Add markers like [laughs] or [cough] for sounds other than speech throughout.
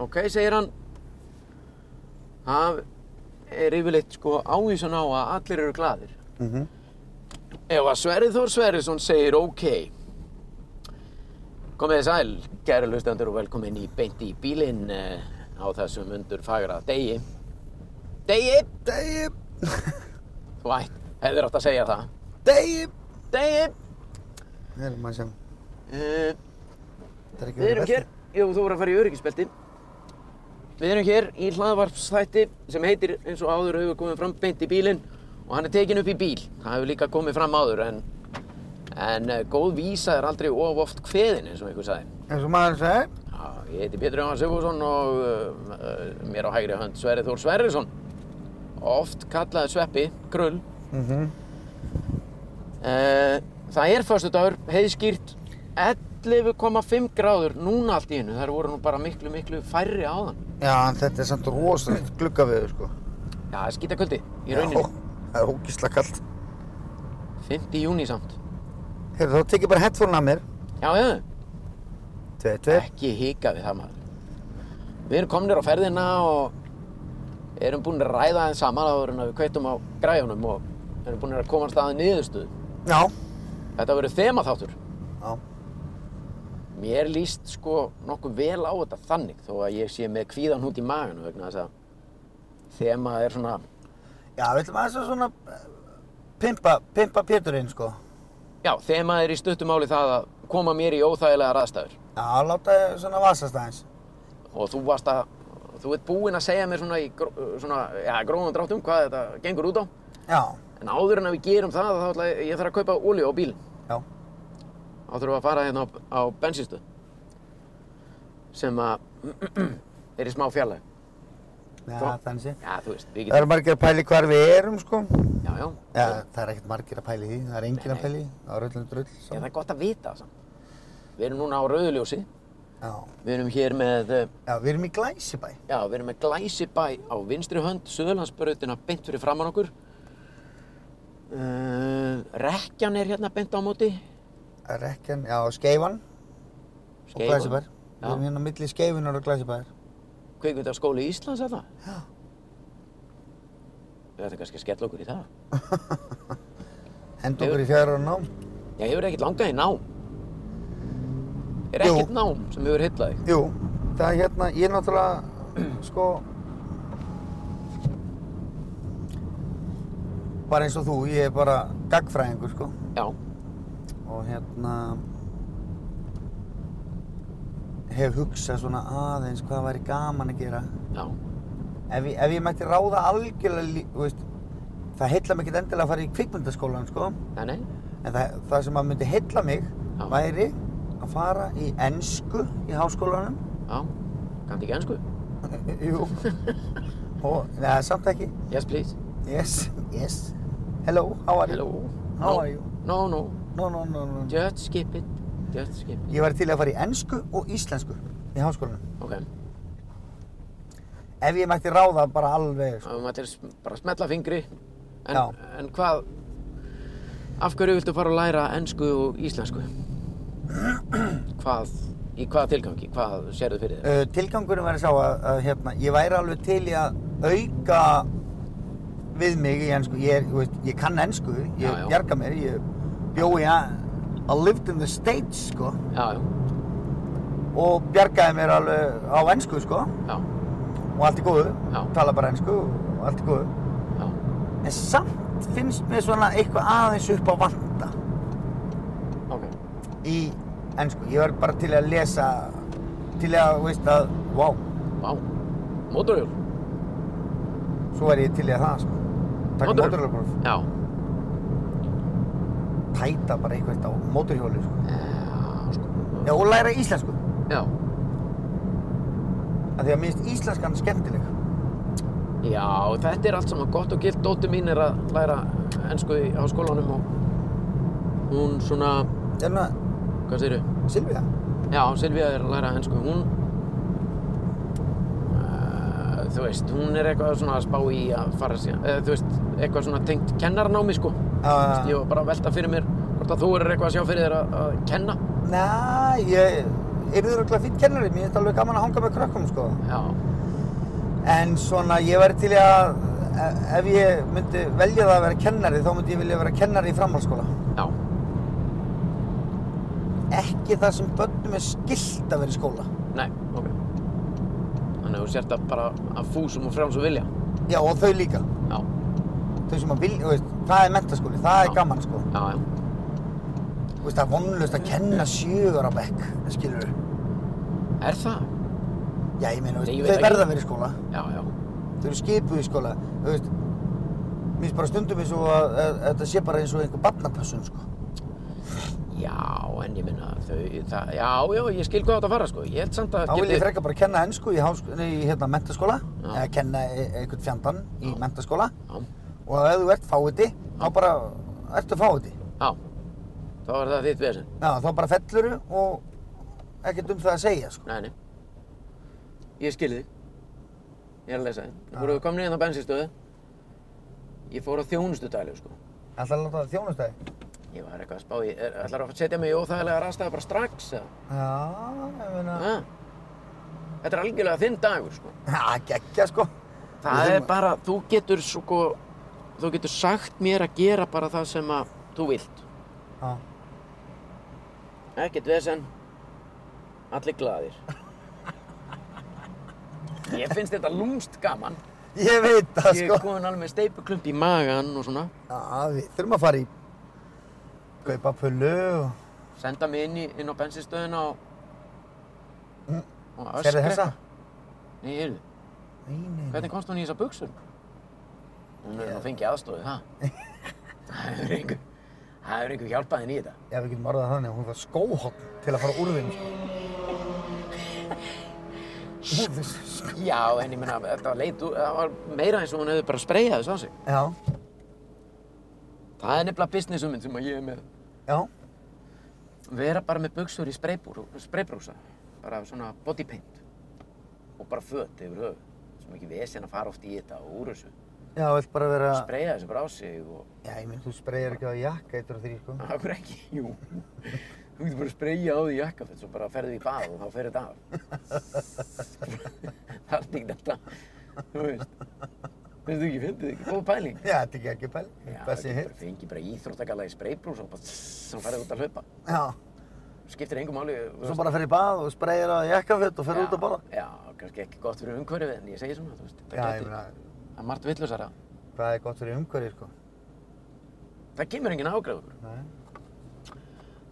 Ok, segir hann. Það er yfirleitt sko ávísun á að allir eru glaðir. Ef að Sverri Þór Sverrisson segir ok. Komið þið sæl, kæru hlustendur og velkomin í beint í bílinn eh, á þessum undur fagra degi. Degi! Degi, Þú ætt, hefðir átt að segja það. degi. Degi! Það er maður sjá. Eh, Uh, Það er ekki Við erum hér, jú þú voru að fara í öryggisbelti Við erum hér í hlaðvarpsþætti sem heitir eins og áður hefur komið fram beint í bílinn og hann er tekin upp í bíl það hefur líka komið fram áður en, en eh, góð vísa er aldrei of oft kveðin eins og einhver sagði En svo maður sagði, Já, ég heiti Pétur Jóhann Sigfússon og uh, uh, mér á hægri hönd Sverri Þór Sverrisson. Oft kallaði Sveppi, Krull. uh, það er förstu dagur, heiðskýrt, 11,5 gráður núna allt í hennu. Það voru nú bara miklu, miklu færri áðan. já en þetta er samt rosalegt gluggaveður sko. Já, það er skítaköldi í rauninni. Já, það er ógísla kallt. 5. júni samt. Heyrðu, þá tek ég bara headphone af mér. Já, já, Tvei, tvei. ekki hika við það maður. Við erum komnir á ferðina og erum búin að ræða þeim saman áður en að við kveitum á græjunum og erum búin að komast að niðurstöðu. Já. Þetta verður þemaþáttur. Já. Mér líst sko nokkuð vel á þetta þannig þó að ég sé með kvíðan hút í maganu vegna þess að þema er svona, Já, við ætlum aðeins að svona eh, pimpa, pimpa Péturinn sko. já þema er í stuttumáli það að koma mér í óþægilegar aðstæður Já, láta svona vasast aðeins. og þú varst að, þú ert búinn að segja mér svona í gró, svona, já, gróðan dráttum hvað þetta gengur út á Já. en áður en að við gerum það þá ætla ég, ég þarf að kaupa olíu á bílinn Já. þá þurfum við að fara hérna á, á bensinstöð sem að [clears throat] er í smá fjarlæg Já, Þú- þannig sé. já þú veist, við Það getum, eru margir að pæli hvar við erum sko. já já, Já, það er ekkert margir að pæli því. Það er engin að pæli því. Það er öllum drull. sko. Já, það saman. er gott að vita það samt. Við erum núna á rauðljósi, Já. við erum hér með, eh, Já, við erum í Glæsibæ. já, við erum með glæsibæ á vinstri hönd, Suðurlandsbrautina beint fyrir framann okkur. Uh, Rekkjan er hérna beint á móti. Rekkjan, já, Skeifan. og Skeifan. Glæsibær. Við erum hérna á milli Skeifunar og Glæsibær. Kvikmyndaskóli Íslands er það. Já. Við ætlum kannski að skella okkur í það. Hend okkur í fjara og nám. Já, hefur ekkert langað í nám. Er Jú. ekkert nám sem hefur heitlað þig? Jú, það er hérna, ég náttúrulega, [clears throat] sko, bara eins og þú, ég er bara gagfræðingur, sko. Já, Og hérna, hef hugsað svona aðeins hvað væri gaman að gera. já, Ef ég, ef ég mætti ráða algjörlega, lí- þú veist, það heilla mig ekki endilega að fara í kvikmyndaskólan, sko. nei, nei, En það, það sem að myndi heilla mig Já. væri að fara í ensku í háskólanum. [laughs] já, kannti ekki ennsku. Jú. Og, neða, samt ekki. Yes, please. Yes, yes. Hello, how are you? Hello. How no. are you? No, no, No, no, no, no. no. just skip it, just skip it. Ég væri til að fara í ensku og íslensku í háskólanum. Ok, Ef ég mætti ráða bara alveg. sko. þá erum við til að sm- bara smetla fingri. En, Já. en hvað, af hverju viltu fara að læra ennsku og íslensku? hvað, í hvaða tilgangi, hvað sérðu fyrir þér? Uh, tilgangurinn væri sá að, að hérna, ég væri alveg til í að auka við mig í ensku. Ég, er, þú veist, ég kann ensku, ég Já, já. bjarga mér, ég bjói að... I lived in the States, sko. Já, já, og bjargaði mér alveg á ennsku sko já, og allt í góðu, Já. tala bara ennsku og allt í góðu já, en samt finnst mér svona eitthvað aðeins upp á vanda ok, í ennsku, ég var bara til að lesa til að, þú veist að, wow vá, mótorhjól, svo er ég til í að það sko taka Mótorhjól? mótorhjólapróf, já. tæta bara eitthvað á mótorhjóli sko Já, sko, já, og læra íslensku, já, af því að minnst íslenskan skemmtileg já, þetta er allt saman gott og gilt. Dóttir mín er að læra ennsku í háskólanum og hún svona, þannig hvað segirðu? að Hérna, Silvía, Já, Silvía er að læra ennsku, hún, uh, þú veist, hún er eitthvað svona að spá í að fara síðan, eða þú veist, eitthvað svona tengt kennarnámi, sko. Þú veist, uh, Ég var bara að velta fyrir mér hvort að þú er eitthvað að sjá fyrir þér að, að kenna. næ, ég eru þurruglega fýtt kennari, mér finnst alveg gaman að hanga með krökkum sko. Já, En svona ég væri til í að, e- ef ég myndi velja það að vera kennari, þá myndi ég vilja vera kennari í framhaldsskóla. já, Ekki það sem börnum er skylt að vera í skóla. nei, ok. Þannig að þú sért að bara að fúsum og frjálsum vilja. Já, og þau líka. Já, Þau sem að vilja, þú veist, það er mentaskóli, það er Já. gaman sko. já, já. Þú veist, það er vonlust að kenna sjögur á bekk, skilur Er það? Já, ég meina, þú Nei, ég veist, veit þau ekki. verða að vera í skóla. Já, já, Þau eru skipuð í skóla, þú veist. Mér finnst bara stundum eins og að, að, að þetta sé bara eins og einhver barnapössun, sko. já, en ég minna þau, það, já, já, ég skil hvað átt að fara sko. Ég held samt að Þá vil ég frekka bara kenna ennsku í, hásk... nei, í hérna, mentaskóla, Já. eða kenna e- einhvern fjandann í Já. mentaskóla Já, og ef þú ert fáiði, þá bara ertu fáiði. já, þá er það þitt vesen. Já, þá bara felluru og ekkert um það að segja, sko. Nei, nei. Ég skil þig. Ég er að lesa þig. Þú voru komin inn á bensinstöðu. Ég fór á þjónustu sko. Alltaf að láta það þjónustæði. Ég var eitthvað að spá í, er- ætlarðu að setja mig í óþægilega rastaði bara strax, eða? Já, ég meina, Ha? Þetta er algjörlega þinn dagur, sko. það geggja, sko. Það Við er þurfum bara, þú getur sko, þú getur sagt mér að gera bara það sem að þú vilt. Já. Ekkert vesen, allir [laughs] glaðir. Ég finnst þetta lúmst gaman. Ég veit það, Ég sko. er komin alveg með steipuklump í magan og svona. Já, við þurfum að fara í kaupa pullu og... Senda mig inn, í, inn á bensinstöðina og, Mm. og Serðu þessa? Nei, heyrðu, Nei, nei, nei. hvernig komst hún í þessa buksur? Hún er nú fengið aðstofið, það. [laughs] það hefur einhver, það hefur einhver hjálpað henni í þetta. Já, við getum orðað þannig að hún þarf skóhotn til að fara úr þeim, sko. Hún þarf skó- Já, en ég meina, þetta var leit úr, það var meira eins og hún hefði bara spreyjað þessu á sig. Já, Það er nefnilega business hugmynd sem að ég er með. já, Vera bara með buksur í spraybúr, spraybrúsa, bara svona body paint og bara föt yfir höfuð. Svo mikið vesen að fara oft í þetta og úr þessu. já, vilt bara vera... Spreyja þessu bara á sig og, Já, ég minn, þú spreyjar ekki á jakka eittur og þrý, sko. okkur ekki, jú. Þú getur bara að spreyja á því jakkafett, svo bara ferðu í bað og þá fer þetta af. það er ekki þetta, þú veist. Finnst þú ekki, finnst þið ekki, góð pæling. Já, þetta er ekki pæl. Já, Hvað sé getur hér? bara fengið bara íþróttakalla í spreybrús og bara tss, og farið út að hlaupa. Já, Skiptir engum máli. þú svo veist. bara fer í bað og spreyjar á jakkafett og fer út að borða. Já, já, kannski ekki gott fyrir umhverfið en ég segi svona, þú veist. Já, Það ég gæti, meina, það er margt villusara. hvað er gott fyrir umhverfið, sko? Það kemur enginn ágræður. Nei.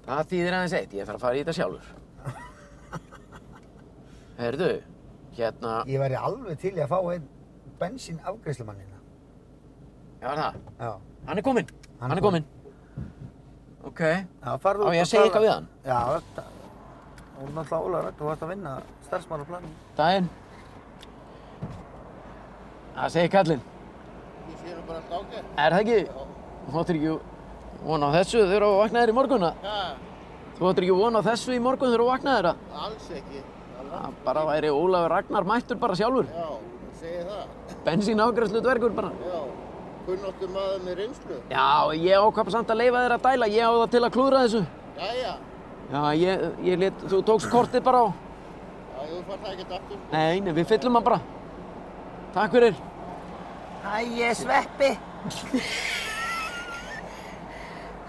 Það þýðir aðeins eitt, ég þarf að fara í þetta sjálfur. Heyrðu, hérna, Ég væri alveg til í að fá einn bensín afgreiðslumannina. já er það, Já. hann er kominn, hann, er kominn. Ok, Já, farðu Á út ég og að segja tala- eitthvað við hann? Já, þetta... Hún er náttúrulega ólega, þú varst að vinna starfsmann á planinu. daginn. Það segir kallinn. Ég sé nú bara allt ágætt. Er það ekki, þú áttir ekki von á þessu þegar þú vaknaðir í morgunna? Já, Þú áttir ekki von á þessu í morgun þegar þú vaknaðir að alls ekki. að bara væri Ólafur Ragnar mættur bara sjálfur. Já, segi það. Bensín ágræslu dvergur bara. Já, kunnáttu maður með reynslu. Já, ég ákvað samt að leifa þér að dæla, ég á það til að klúðra þessu. Jæja, Já, ég, ég let, þú tókst kortið bara á. já, þú fær það ekkert aftur. Nei, nei, við fyllum hann bara. Takk fyrir. Æ, ég er sveppi!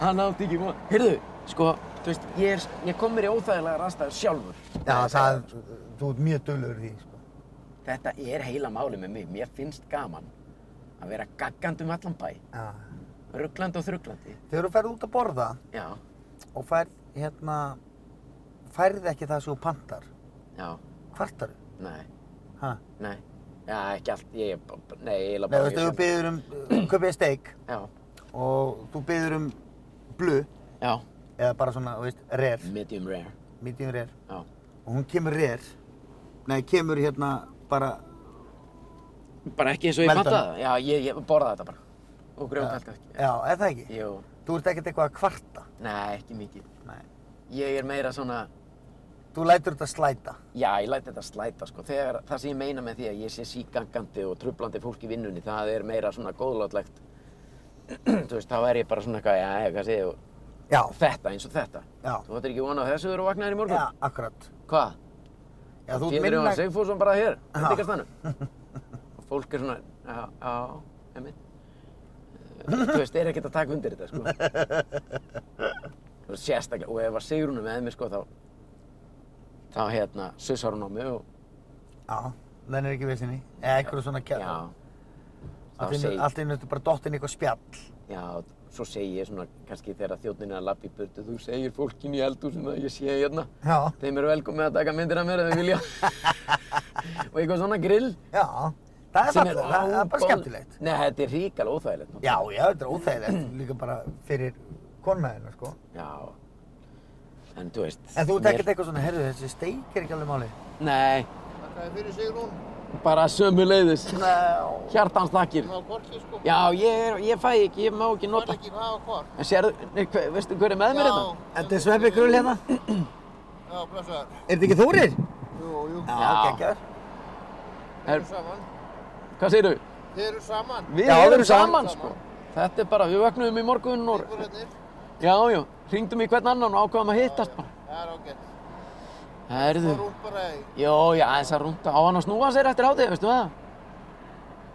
Hann átti ekki von. Heyrðu, sko, þú veist, ég, er, ég kom mér í óþægilega rastæður sjálfur. Já, það, þú ert mjög dullur í því, sko. Þetta er heila máli með mig. Mér finnst gaman að vera gaggandi um allan bæ. Já. Rugglandi og þrugglandi. Þegar þú ferð út að borða Já, og færð, hérna, færð ekki það sem þú pantar, já, kvartaru. nei, Ha? nei. Já, ekki allt, ég er bara, nei, ég Nei, er þú bara... veist, ef þú byður um, köpið steik Já, og þú byður um blu, já, eða bara svona, þú veist, rare, medium rare, medium rare, já, og hún kemur rare, nei, kemur hérna bara, bara ekki eins og ég Meldan. fatta það, já, ég, ég borða þetta bara, og grjónkalt ekki, já, er það ekki? jú, Þú ert ekkert eitthvað að kvarta. nei, ekki mikið, Nei. ég er meira svona, Þú lætur þetta slæta. já, ég læt þetta slæta, sko, þegar, það sem ég meina með því að ég sé síkangandi og trublandi fólk í vinnunni, það er meira svona góðlátlegt, þú veist, þá er ég bara svona eitthvað, já, hvað segir þú, Já, þetta eins og þetta, já, þú ættir ekki vona á þessu þegar þú vaknaðir í morgun, já, akkurat. Hvað? Já, þú ert Pétur Jóhann minna... Sigfússon bara hér, Já. þetta ykkur stannu. Og fólk er svona, já, já, einmitt. Þú veist, þeir eru ekkert að taka undir þetta, sko. Þú veist, sérstaklega, og ef að Sigrúnu með mér, sko, þá, þá hérna, sussar hún á mig og, Já, það er ekki vissinni. Eða eitthvað svona já, kjæra. þá segi, Allt einu ertu bara dottinn í eitthvað spjall. já, svo segi ég svona, kannski þegar þjónninn er að lappa í burtu, þú segir fólkinu í eldhúsinu að ég sé hérna, Já, þeim eru velkomin að taka myndir af mér ef þau vilja. [laughs] og eitthvað svona grill. já. Það er sem fallið, það það er bara ábóð- skemmtilegt. Nei, þetta er ríkala óþægilegt. náttúrulega. Já, já, þetta er [clears throat] óþægilegt líka bara fyrir konmaðina, sko. Já, en þú veist... En þú ert mér- ekkert eitthvað svona, herru, þessi steik er ekki alveg málið. Nei, Þakka þér fyrir Sigrún. bara sömu leiðis. Já. Hjartans þakkir. Hún á korti sko. Já, ég, er, ég fæ ekki, ég má ekki Þú ert nota. ekki hvað á kort. En sérðu, nei, hver, veistu hver er með mér hérna? Þetta er sveppi grull hérna. Já, blessaður. Er þetta ekki Þórir? Jú, jú. Já, Já. geggjör. Þeir eru saman. Hvað segirðu? Þeir eru saman. Við Já, við erum erum saman, saman. sko. Þetta er bara, við vöknum í morgun og... Íbúrarnir. Já, já, hringdum í hvern annan og ákvaðum að hittast bara. Það er ágætt. Herðu. Og rúm bara í. Jó, já, aðeins að rúnda. Á hann að snúa sér eftir hátíð, veistu það?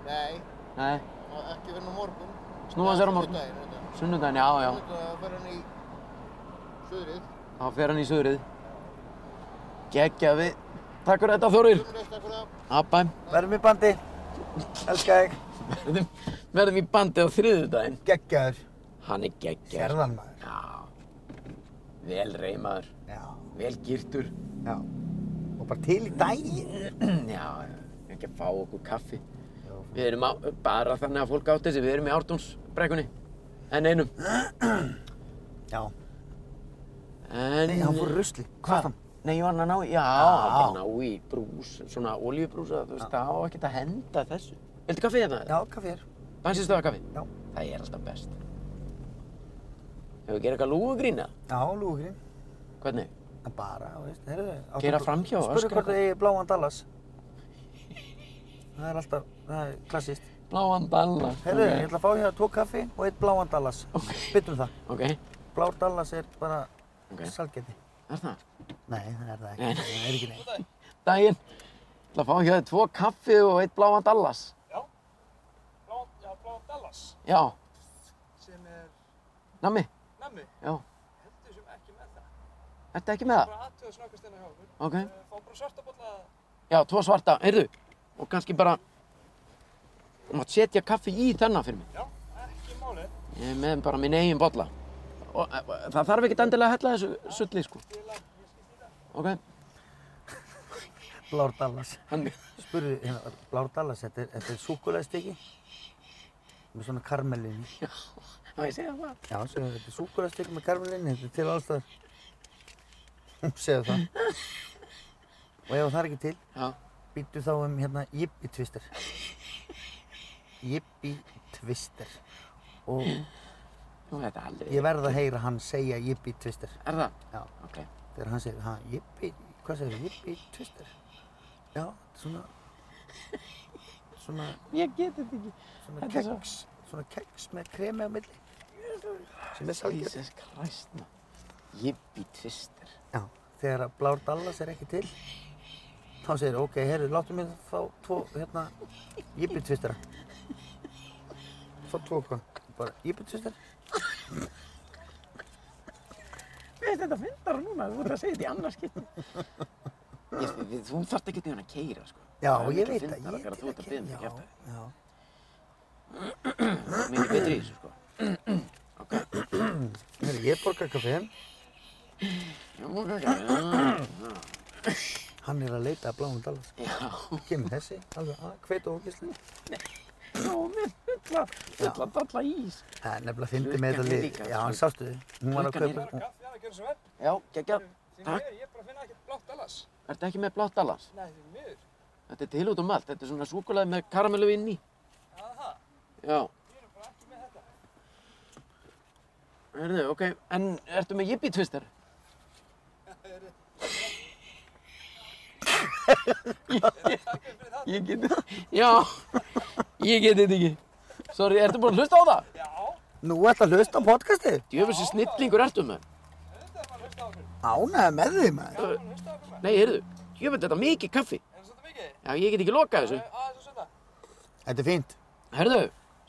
Nei, Nei, og ekki vinna á morgun. Snúa sér á morgun. Já, sunnudaginn, þetta. sunnudaginn, já, já. Sunnudaginn, Það fer hann í suðrið. Þá fer hann í suðrið. Gekkja við. Takk fyrir þetta, Þórir. Sunnudaginn, takk fyrir það. Abba. Verðum í bandi. Elskar þig. Verðum- verðum í bandi á þriðjudaginn. Geggjör. Hann er geggjar. Gerðan maður. Já. Vel reymaður, Já. vel girtur. [clears throat] Já. Og bara til í daginn. Já, ekki að fá okkur kaffi. Við erum á, bara þannig að fólk átti þessi, við erum í ártúnsbrekkunni. En einum. Já. En... Nei, hann fór í rusli. Hvað? Kvartan. Nei, ég var hann að ná í, já, hann var að ná í brús, svona olíubrúsa, þú veist, það á ekkert að henda þessu. Viltu kaffi hérna? Já, kaffir. Bensinstöða kaffi? Já. Það er alltaf best. Hefur við gerað eitthvað lúgugrína? Já, lúgrinn. Hvernig? En bara, þú veist, heyrðu. áttu- Keyra framhjá, Spurðu öskra hvort þið eigi bláan Dallas. Það er alltaf, það er klassist. Bláan dalla. Heyrðu, ég ætla að fá hérna tvo kaffi og eitt bláan Dallas. Byttum það. Ok, Blár Dallas er bara ok. okay. salgeti. Er það? Nei, það er það Nei, ekki. Það er ekki neitt. Daginn. Ég ætla að fá hjá þér tvo kaffi og eitt bláan dallas. Blá, já, Blá Dallas Já, sem er nammi. nammi, Já, heldur sem ekki með það. ertu ekki með það? Bara aðtöða snakast hérna hjá okkur. Ok. Eh, Fá bara svarta bolla Já, tvo svarta, heyrðu. Og kannski bara, þú mátt setja kaffi í þennan fyrir mig. Já, ekki málið. Ég er með bara minn eigin bolla. Og e, það þarf ekkert endilega að hella þessu sulli, sko. Ok, Blár Dallas. [laughs] hann, Spurðu, hérna, Blár Dallas, þetta er, þetta er súkulæðstykki. Með svona karmelinni. á ég að segja það? Já, segðu, þetta er súkulæðstykki með karmelinni. Þetta er til allstaðar. Hún segðu það. Og ef það er ekki til, Já, býttu þá um hérna Jibbi Twister. Jibbi Twister. Og nú er þetta aldrei. ég verð að heyra hann segja Jibbi Twister. Er það? Já. Ok. Þegar hann segir, ha, jippi, hvað segir þið, jippi, twister? Já, svona, svona, Ég get þetta ekki. svona Þetta er svo- keks, svona keks með kremi á milli. Sem er salgjörn. Jesus Christ, maður. Jibbi tvister. Já, þegar að blár Dallas er ekki til, þá segir, ok, herru, láttu mig fá tvo, hérna, jippi, twistera. Fá tvo hvað? Bara, jippi, twister? Mér finnst þetta fyndara núna, þú ert að segja þetta í annars skipti. þú þarft ekki að keira, sko. Já, Það ég er miklu veit það, fyndnara ég þegar til þú ert að biðja já, mig kjafta. já. Það er Mikið betri í þessu, sko. Herru, ég borga kaffein, Já, ok, ok, hann er að leita að bláum Dallas. já. Já, Kemur þessi, alveg, að, hveit og ógislega. já, mér fulla, fulla dalla ís. Það er nefnilega fyndið með þetta Klukkan er lið. líka, Já, hann sko. sástu þið. Hún var að Klukkan er kaupa. bara kaffi, já, það gerir svo vel. Já, geggja. Því Takk. miður, ég bara finna ekkert blátt Dallas. Ertu ekki með blátt allars? Nei, því miður. Þetta er til út um allt. Þetta er svona súkulega með karamellu inn í. Aha, Já. ég er bara ekki með þetta. Herðu, ok. En ertu með jibbi tvister? Takk fyrir það. Ég get þetta. Já, ég get þetta ekki. Sorry, ertu búin að hlusta á það? Já, Nú ætla að hlusta á podcastið. Djöfusir snillingur ertu með. Ah. þetta er maður hlust á okkur. Ánægði með þig maður. Gaman, veistu það fyrir maður? Nei, heyrðu, jöfnveld þetta er mikið kaffi. Er það svolítið mikið? Já, ég get ekki lokað þessu. Nei, Aðeins og sönda. Þetta er fínt. Heyrðu,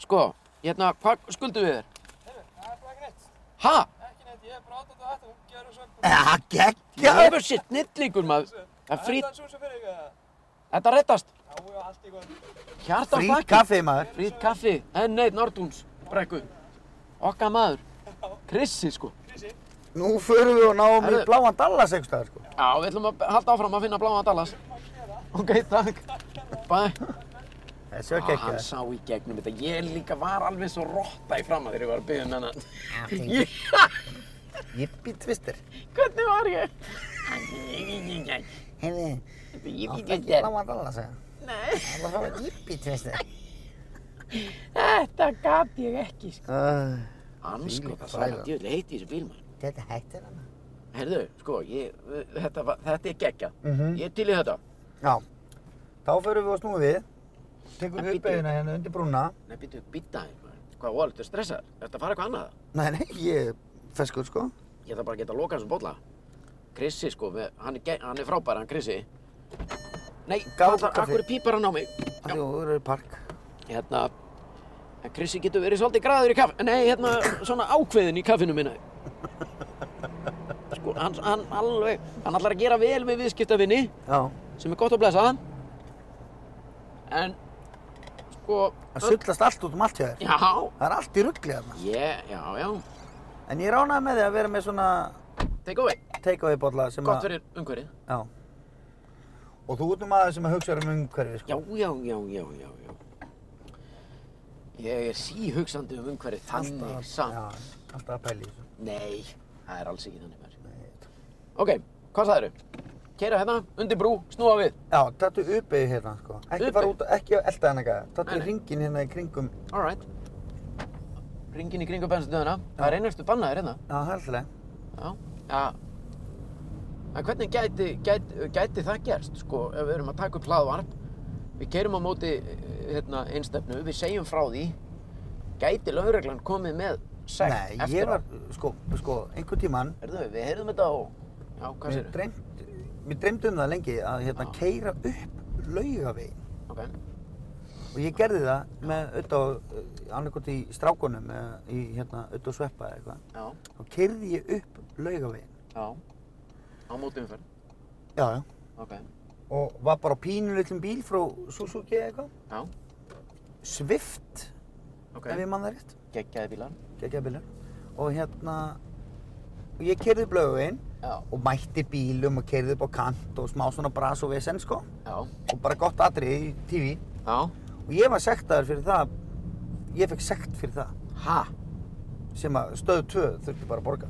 sko, hérna, hvað skuldum við þér? Heyrðu, það er bara ekki neitt. Ha? Ekki neitt, ég er bara aðdátt á þetta. Hún gerur svo eitthvað. Ja, Ég geggjaður. hefur sitt nillíkur maður. Það er frít, Það er svo sem fyrir ykkur. eða? þetta rettast. Já, já, allt í góð. Hjarta á Frýtt þakki. kaffi maður. Frít kaffi, enn neitt Nordúns brekku. Okka maður. Krissi, sko. Krísi. Nú förum við og náum í Herðu. bláan Dallas einhvers staðar sko. Já, við ætlum að halda áfram að finna bláa Dallas. Ok, takk. Bæ. Þessi var Já, hann geggjaður. sá í gegnum þetta. Ég líka var alveg svo rotta í fram að þegar ég var að byggja um hennan. fínt. [laughs] Ég, Jippi twister. hvernig var ég? Heyrðu, Ég áttu veit ekki ekki. bláan Dallas eða? Nei. Það var bara jippi twister. Þetta gat ég ekki. sko. Uh, Þvílík Anskotan, sko, það er þvæla. djöðlega heitt í þessu bíl, maður. þetta hættir hann. Herðu, sko, ég, þetta, var- þetta er geggjað. Mhm. Ég er til í þetta. Já. Þá förum við og snúum við. Tekum En við bíddu. uppeyðina hérna undir brúna. Nei, býttu, býtta þér, maður. Hvað, Wall, þetta er stressað. Þetta fara eitthvað annað. Nei, nei, ég er feskur sko. Ég þarf bara að geta að loka þessum bolla. Krissi, sko, með, hann, er, ge- hann er frábær, hann Krissi. Nei, Gáðu hvað þarf, kaffi. akkur pípar hann á mig? Það er úr park. Hérna, en Krissi getur verið svolítið graður í kaff... Nei, hérna, svona ákveðin í kaffinu minna. Sko, hann, hann alveg, hann ætlar að gera vel með viðskiptavinni, Já. sem er gott að blessa. En, sko... Það sullast allt út um allt hjá þér. Já, Það er allt í ruggli þarna. ég, já, já, En ég ránaði með þig að vera með svona take away. take-away bolla sem Gott að... fyrir umhverfið. Já. Og þú ert nú maður sem að hugsa um umhverfið sko. Já, já, já, já, já, já. Ég er síhugsandi um umhverfið þannig samt. Já, alltaf að pæli þessu. Nei, það er alls ekki þannig maður. Nei, þetta- Ok, hvað sagðið eru? Keira hérna, undir brú, snúa við. Já, tattu uppeyðu hérna sko. Ekki fara Uppeyju? út, ekki að elda hennar gæða. Tattu Nei, nei. ringin hérna í kringum. Alright. Ringin í kringu bensinstöðuna. Það er einustu bannaðir hérna. Já, það er alltaf leið. Já. Já. En hvernig gæti, gæti, gæti það gerst, sko, ef við erum að taka upp hlaðvarp, við keirum á móti eh, hérna, einstefnu, við segjum frá því, gæti lögreglan komið með sekt Nei, eftir ég var, á? sko, sko, einhvern tíman, Heyrðu, við heyrðum þetta á... Já, hvað mér sér? dreymt, mér dreymt um það lengi að hérna Já. keyra upp laugavegin. Ok. Og ég gerði það með auðvitað, annarkot í strákunum, eða í hérna, auðvitað sveppa eða eitthvað. Já. Þá keyrði ég upp laugavegin. Já. Á móti umferð. Já, já. Ok. Og var bara á pínu litlum bíl frá Suzuki eða eitthvað. Já. Svift, Ok. ef ég man það rétt. Geggjaði bílar. Gekkjaði bílar. Og hérna, og ég keyrði upp laugavegin Já. og mætti bílum og keyrði upp á kant og smá svona bras og vesen, sko. Já. Og bara gott atrið í TV. Já. Og ég var sektaður fyrir það, ég fekk sekt fyrir það, Ha? sem að stöð 2 þurfti bara að borga.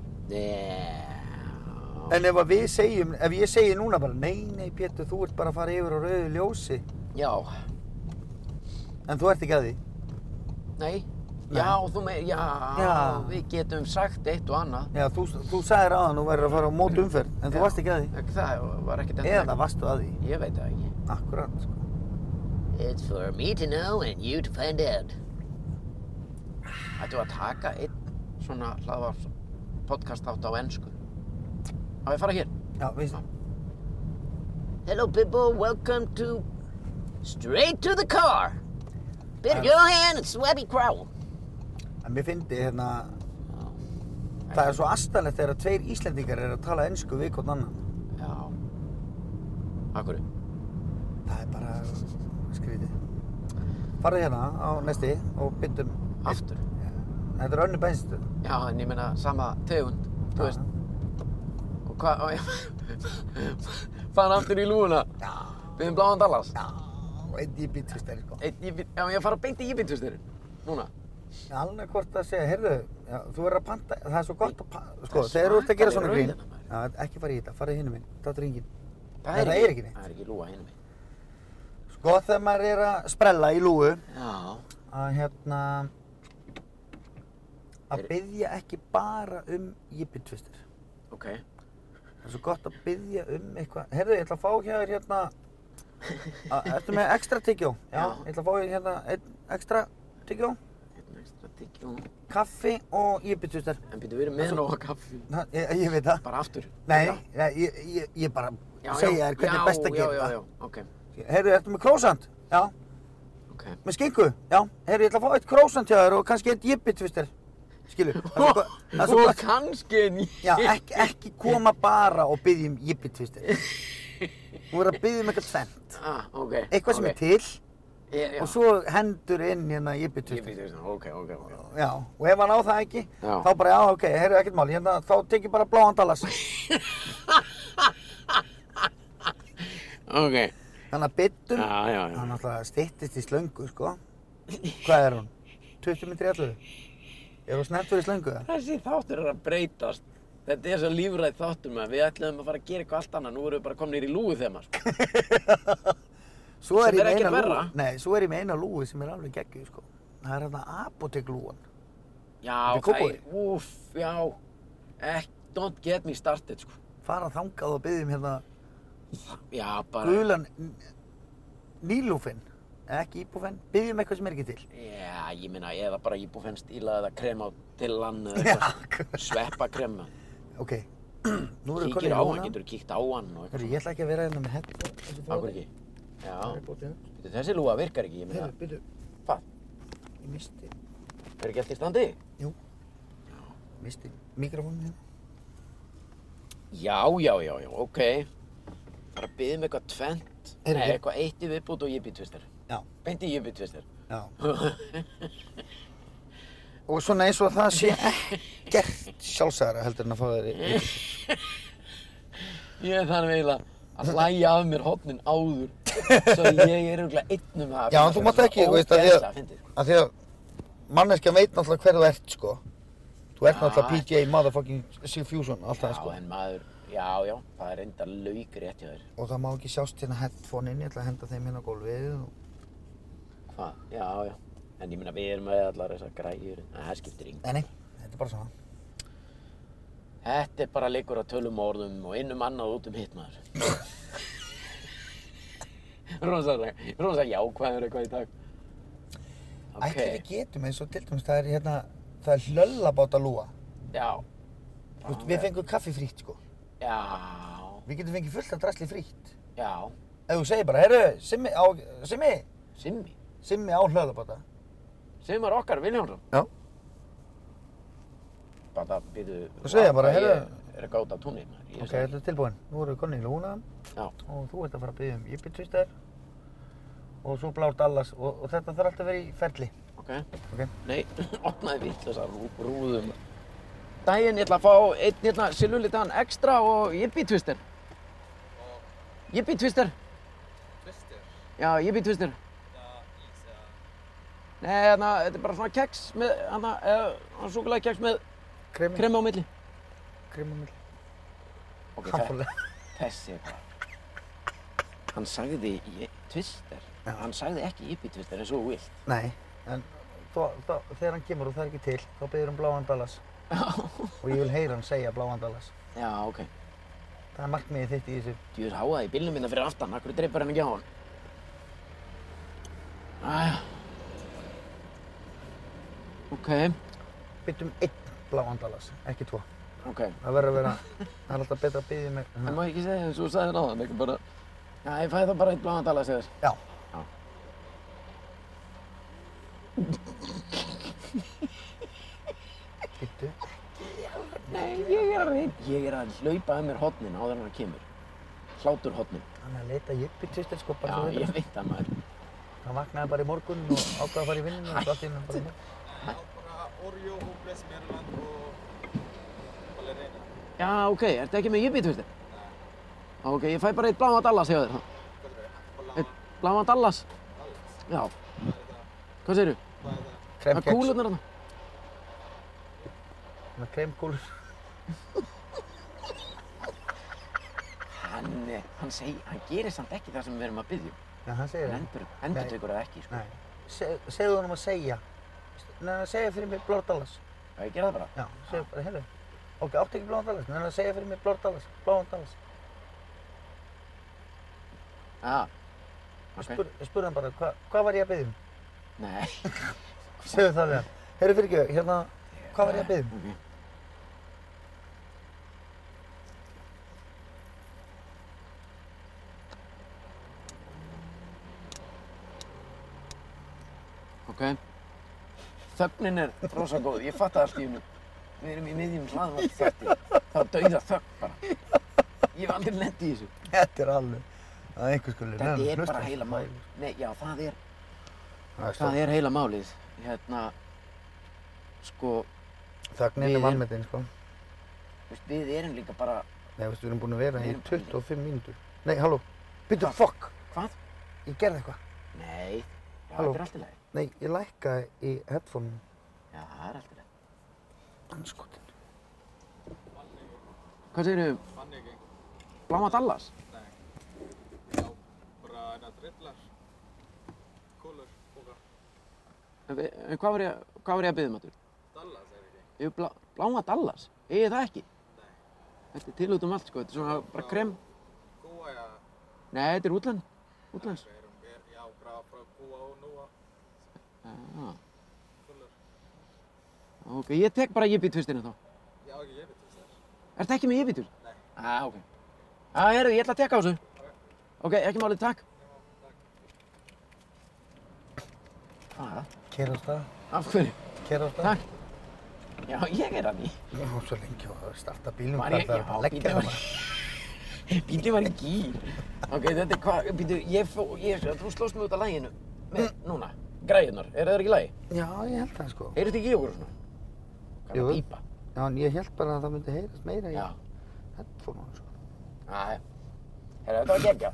Já. En ef að við segjum, ef ég segi núna bara, nei, nei, Pétur, þú ert bara að fara yfir á rauðu ljósi, Já. en þú ert ekki að því. Nei. Nei. Já, þú meir, já, Já. við getum sagt eitt og annað. Já, þú, þú sagðir aðan, þú verður að fara á mót umferð, en Já. þú varst ekki að því. Ekki Það var ekkert Eða varstu að því. Ég veit það ekki. Akkurat, sko. It's for me to know and you to find out. Ættu að taka einn svona hlaðvarp podcast átt á ennsku. Á ég að fara hér. Já, við, Hello people, welcome to Straight to the Car. Bitter Johan and Swabby Crow. en mér fyndi, hérna, það er svo astanlegt þegar tveir Íslendingar eru að tala ennsku við hvort annan. Já. Akkur. Það er bara skrítið. Farðu hérna á næsti og byttum. Aftur. Þetta er önnu bensinstu. Já, en ég meina sama tegund, þú veist. Og hvað, og ég fann aftur í lúuna. Já, Við erum bláðan Dallas. já, og einn í bíltvistar, sko. Eitt, ég, já, ég fara beint í íbintusturinn. Núna. Alveg hvort að segja, heyrðu, já, þú verður að panta, það er svo gott að panta, sko, Það er þegar þú ert að gera svona svakaleg grín. rauðina, maður. Já, ekki fara í þetta, fara í hinum minn, dátur ringin. Nei, það er ekki neitt. Það er ekki lúa hinum minn. Sko, þegar maður er að sprella í lúgu, Já. að hérna, að Er- byggja ekki bara um jippitvistar. Ok. Það er svo gott að byggja um eitthvað. Heyrðu, ég ætla að fá hjá þér hérna, að- ertu með ekstra tyggjó? Já, Já. ég ætla að fá þér hérna einn ekstra tyggjó. Einn ekstra Tyggjó. Kaffi og jibbitvistar. En býttu verið með nóga kaffi. Ég, ég veit það. Bara aftur. Nei, Já, ég, ég, ég, ég bara já, segja þér hvernig já, er best að já, gera Já, já, það. já, ok. Heyrðu, ertu með krósand? Já. ok. Með skinku? Já. Heyrðu, ég ætla að fá eitt krósand hjá þér og kannski eitt jibbitvistar. [laughs] Skilju. Og, og kannski en ég. [laughs] Já, ekki, ekki koma bara og biðja um jibbitvistar. Þú verður að biðja um eitthvað tvent. Ah, ok. Eitthvað sem er til til. og svo hendur inn hérna Ég jibbitvistar. býttu verið, ok, ok, ok. Já, og ef hann á það ekki, Já. þá bara, já, ok, heyrðu ekkert mál, hérna, þá tekið bara bláan [laughs] Dallas. Ok. Þannig að byttum, Já, já, já. hann náttúrulega styttist í slöngu, sko. Hvað er hún? 20 minn 30? Er hún snert fyrir slöngu það? Þessi þáttur er að breytast. Þetta er svo lífræð þáttur maður. Við ætlum að fara að gera eitthvað allt annað. Nú erum við bara komnir í lúgu þegar maður. [laughs] sko. Svo Sem ég er með ekkert eina verra. lúgu- Nei, svo er ég með eina lúi sem er alveg geggjuð, sko. Það er hérna apoteklúan. Já, Þetta er Kópavogur. Úf, já. Ek, don't get me started, sko. Fara þangað og byggjum hérna Já, bara. gulan n- nílúfinn, eða ekki íbúfinn, byggjum eitthvað sem er ekki til. Já, ég meina, eða bara íbúfenn stíla eða krem á til hann eða [laughs] Já, eitthvað. Sveppa krema. ok. Nú erum við Kíkir konið á hann, lúna. getur kíkt á hann og eitthvað. Herru, ég ætla ekki að vera hérna með hett. Akkur ekki. Já. Bíddu, Þessi lúga virkar ekki, ég meina. Heyrðu, byrju, Hvað? ég misti, Er ekki allt í standi? misti mikrofónu hérna. Já, já, já, já, ok. Bara byggðum eitthvað tvent, Heyrðu, nei, ég- eitthvað eitt í viðbútt og ég býð tvistar. Já. Beint í ég býð tvistar. Já. Og svona eins og það sé ekkert sjálfsæðara heldur en að fá þér í. ég er þannig eiginlega að hlæja af mér hotnin [laughs] áður, svo ég er örugglega einn um það. Já, að finna þú fyrir mátt svona ekki, þú veist, af því að- ógeðslega fyndið, sko. Af því að manneskja veit náttúrulega hver þú ert, sko. Þú ert Já. sko. náttúrulega PJ motherfucking Sigfusion, allt það, sko. Já, en maður, já, já, það er enda lauk rétt hjá þér. Og það má ekki sjást hérna headphone inn, ég ætla að henda þeim hérna á gólfið. og- Hvað? Já, já. En ég meina, við erum með allar þessar græjur, en það skiptir yng. Nei, nei, þetta er bara svona. Þetta er bara leikur að tölum og orðum og innum annað og út um hitt maður. [laughs] Rósalega, rosalega jákvæður eitthvað í dag. Okay. Ætli við getum eins og til dæmis, það er hérna, það er hlöllabáta lúa. Já. Við fengum kaffi frítt, sko. Já, Við getum fengið fullt af drasli frítt. já, Ef þú segir bara, herru, Simmi á, Simmi, Simmi. Simmi á hlöðlabata. Simmar okkar, Viljánsson. Já. Bara býðu... Þú segja bara, ég heyrðu. Er að gáta túnni maður. Ég Ok, sagði- þetta er tilbúin. Nú erum við konni í lúna Já. og þú ert að fara að byggja um Íbitvistar og svo Blár Dallas og, og þetta þarf alltaf að vera í ferli. Ok. Ok. Nei, [clears throat] opnaði vittlösa rú, rúðum. Daginn, ég ætla að fá einn hérna silulitaðan ekstra og jippi twister. Jippi twister. Twister. Já, jippi twister. Já, ís eða... Nei, hérna, þetta er bara svona keks með, hérna, eða súkulega keks með Kremi, kremi á milli. kremi, Ok, þe- [laughs] kremi. þessi er bara. Hann sagði ji- twister. Já. Hann sagði ekki jippi twister eins og þú vilt. Nei, en þó, þó, þegar hann kemur og það er ekki til, þá byggður hann Bláan Dallas og ég vil heyra hann segja Bláan Dallas. Já, ok. Það er markmiðið þitt í þessu. Þú veist, háaði í bílnum minna fyrir aftan. Akkur dreipar hann ekki á hann. Æja. Ok, Byttum um einn Bláan Dallas, ekki tvo. ok. Það verður að [laughs] vera, það er alltaf betra að um byggja með. Það má ekki segja þessu og sagði hann á þann, ekki bara... Já, ég fæði þá bara eitt bláðan dala, segir. Já. Já. Byttu. Nei, ég er að reyna. Ég er að hlaupa að mér hotnin áður en hann kemur. Hlátur hotnin. Hann er að leita jippi tvistir sko Já, bara svo ég þetta. veit það maður. Hann vaknaði bara í morgun og ákvaði að fara í vinninu og svo allt í hennu bara með. Já, bara Oreo og Bless Maryland og... Ballerina. Já, ok, ertu ekki með jibbit, veistu? Nei. Ok, ég fæ bara eitt bláðan dala, segir þér. þá. Hvað er það? Eitt bláðan dallas. Ballerina. Já. Hvað segirðu? Hvað er það? Það er Kremkeks. kúlurnar þarna. Með kremkúlur. Hann, eh, hann segir, hann gerir samt ekki það sem við erum að byggja. um. Já, hann segir Hann það. endur, endur tekur það ekki, sko. Nei. Se- Segðu honum að segja. Nei, nei, segja fyrir mig Blár Dallas. Já, ég gera það bara. Já, segja bara, heyrðu. Ok, áttu ekki Bláan Dallas? Nei, nei, segja fyrir mig Blár Dallas. Bláan Dallas. Já. Spur, spurðu hann bara, hva, hvað var ég að byggja um? Nei. Segðu það við hann. Heyrðu fyrir ekki, hérna, hvað var ég að byggja um? Ok. Þögnin er rosa góð. Ég fatt allt í hennu. Við erum í miðjum hlaðvart þætti. Það er dauða þögn bara. Ég hef aldrei lent í þessu. Þetta er alveg, það er einhver skuli. Þetta er bara heila málið. Nei, já, það er, það er heila málið. Hérna, sko, Þagnin Við er erum- vannmetinn, sko. veist, við erum líka bara, Nei, veistu, við erum búin að vera Við í erum- 25 mínútur. Nei, halló, byrju, fuck, hvað? ég gerði eitthvað. Nei, já, Halló. þetta er allt í lagi. Nei, ég lækkaði í headphone-um. Já, það er allt í lagi. Anskotin. Hvað segir þau? Fann ekki. Bláma Dallas? Nei. Já, bara hérna drillar. Kúlur, bókar. En við- en Hvað var ég, að- hvað var ég að byggja um þetta? Dallas er ekki. Ég hef blá, bláma Dallas. Ég það ekki. Nei. Þetta er til út um allt, sko. Þetta er svona bara krem. Kúa, já. Nei, þetta er útland. Útlands. Við erum, við, já, bara frá Kúa og Núa. Já, Kúlur. ok. Ég tek bara jibbitvistina þá. Já, ekki ég veit þess þess. Ertu ekki með jibbitvis? Nei. Já, ok. Já, heyrðu, ég ætla að tekka á þessu. Ok, ekki málið, takk. Hvað er það? Kera á stað, Ah, Af hverju? kera á stað. Takk. Já, ég er að því. Ég var svo lengi að starta bílum, Var ég, hvað já, ætlaði að leggja bílið það var, bara. bílið var í gýr. Ok, þetta er hvað, býtu, ég fó, ég, þú slóst mig út af læginu. Með, núna, græðunar, er það ekki lægi? Já, ég held það, sko. Heyrðu ekki í okkur og svona? Hvað er Jú. að pípa? Já, en ég held bara að það myndi heyrast meira í Já. headphone-um, sko. Æ, heyrðu, þetta var geggja.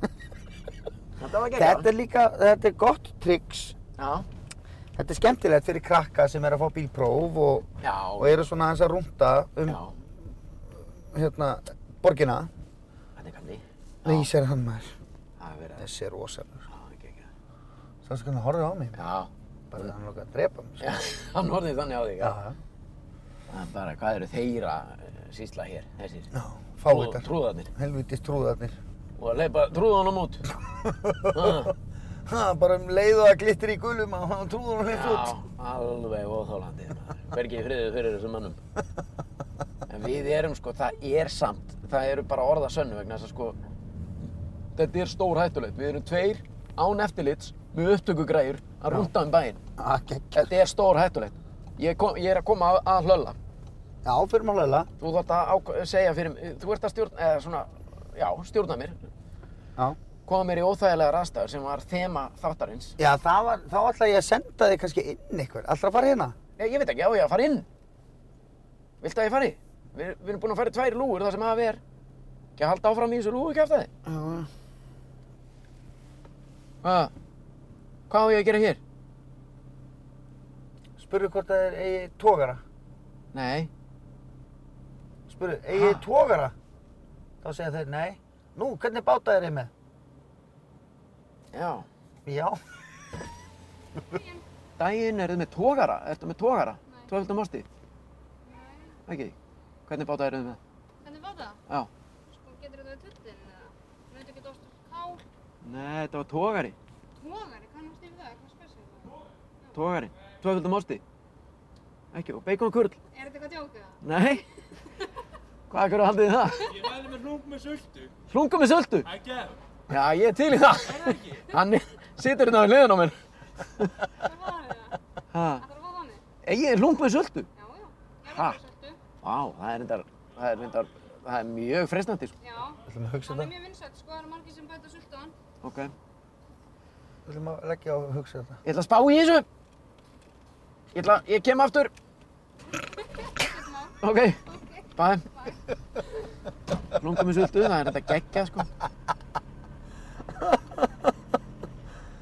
þetta var geggja. Þetta er líka, þetta er gott tricks. Já, Þetta er skemmtilegt fyrir krakka sem er að fá bílpróf og, já, og eru svona aðeins að rúnda um, já. hérna, borgina. Hann er kalli. Nei, ég sér hann maður. Það er verið að... Þessi er rosalur. Já, ekki ekki. Svo sko hann horfði á mig, Já. bara hann lókaði að drepa mig, sko. Já, hann orðið þannig á þig. Já, Já. Það er bara, hvað eru þeirra eh, sýsla hér, þessir? já, fávitar. Trúðarnir. Helvitist trúðarnir. Og að leipa trúðanum út. Ha. Ha, bara um leið og það glittir í gulum að hann trúður hann Já, eins út. alveg óþólandið maður. Hvergi í friðið fyrir þessum mannum. En við erum sko, það er samt, það eru bara orða sönnu vegna þess að sko, þetta er stór hættulegt. Við erum tveir án eftirlits með upptökugræjur að rúnta um bæinn. Já, geggjað. Þetta er stór hættulegt. Ég, kom, ég er að koma að, að hlölla. Já, fyrir maður leila. Þú þátt að ákva- segja fyrir mig, þú ert að stjórna, eða svona, já, stjórna mér. Já. Koma mér í óþægilegar aðstæður sem var þema þáttarins. Já, það var, þá ætla ég að senda þig kannski inn eitthvað. Alltaf að fara hérna? Nei, ég veit ekki, á ég að fara inn. Viltu að ég fari? Við, við erum búin að fara í tvær lúgur þar sem hafi er. Ekki að halda áfram í þessu lúgu kæftæði. Já. Hvað? Hvað á ég að gera hér? Spurðu hvort það er eigi tógara. Nei. Spurðu, eigi Ha? tógara? Þá segja þeir, nei. Nú, hvernig báta er ég með? Já. Já. Dæin eruð með tógara, ertu með tógara? Nei. Tvöfaldum ásti? Ekki. Hvernig báta eruð með? Hvernig var það? Já. Sko, getur þetta verið tullin eða? Nötu ekki dóst kál? Nei, þetta var tógari. Tógari, kannast yfir það, hvað spesir það? Tógari. Tvöfaldum ásti. Ekki, og bacon og kurl. Er þetta eitthvað djókið það? Nei. Hvað, hverju haldið þið það? Ég mæli með hlung með sultu. Hlunga með söldu? Ekki ef. Já, ég er til í það. Er það ekki? Hann er- situr hérna á hliðin á mér. Hvað var það? Ha. Það var þannig? Ég er hlung með söldu. Já, já. Ég er Ha? það svolítið. Vá, það er reyndar, það er reyndar, það er mjög freistandi, sko. Já. Þú ætlum að hugsa Hann er þetta? mjög vinsætt, sko, það eru margir sem bæta sultan. Ok. Ég Þú ætlum að leggja á að hugsa þetta? ætla að spá í þessu. Ég ætla, ég kem aftur. Ok. Bæ. Lunga með sultu, það er þetta geggja, sko.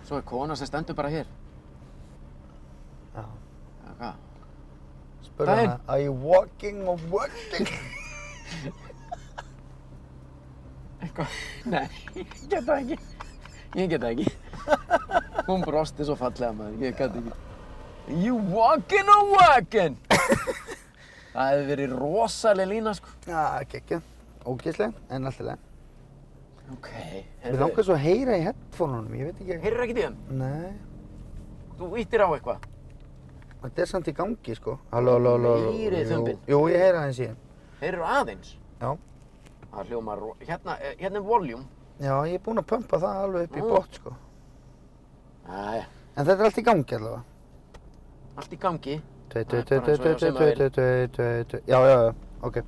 Svo er kona sem stendur bara hér. Já. Já, hvað? Spurðu Daginn. hana, are you walking or working? [laughs] Eitthvað? Nei, ég get það ekki. Ég get það ekki. Hún brosti svo fallega maður, ég gæti ekki. You walking or walking? það hefði verið rosaleg lína, sko. Já, geggja. Ógeðsleg, en alltaf leið. Ok. Mér langar svo að heyra í headphone-unum, ég veit ekki. Heyrðu ekki því þeim? Nei. Þú ítir á eitthvað. Þetta er samt í gangi sko. Halló, halló, halló. halló. Meiri Jú, þumbin. Jú, ég heyra aðeins í þeim. Þeir eru aðeins. Já. Það hljómar, ro- hérna, eh, hérna er voljum. Já, ég er búinn að pumpa það alveg upp í Nú. bótt sko. Æja, En þetta er allt í gangi allavega. allt í gangi. Tvei, Það tvei, er tvei, bara tvei, eins og tvei, tvei, hjá Sigmavel. tvei, tvei, tvei, tvei. Já, já, já, ok.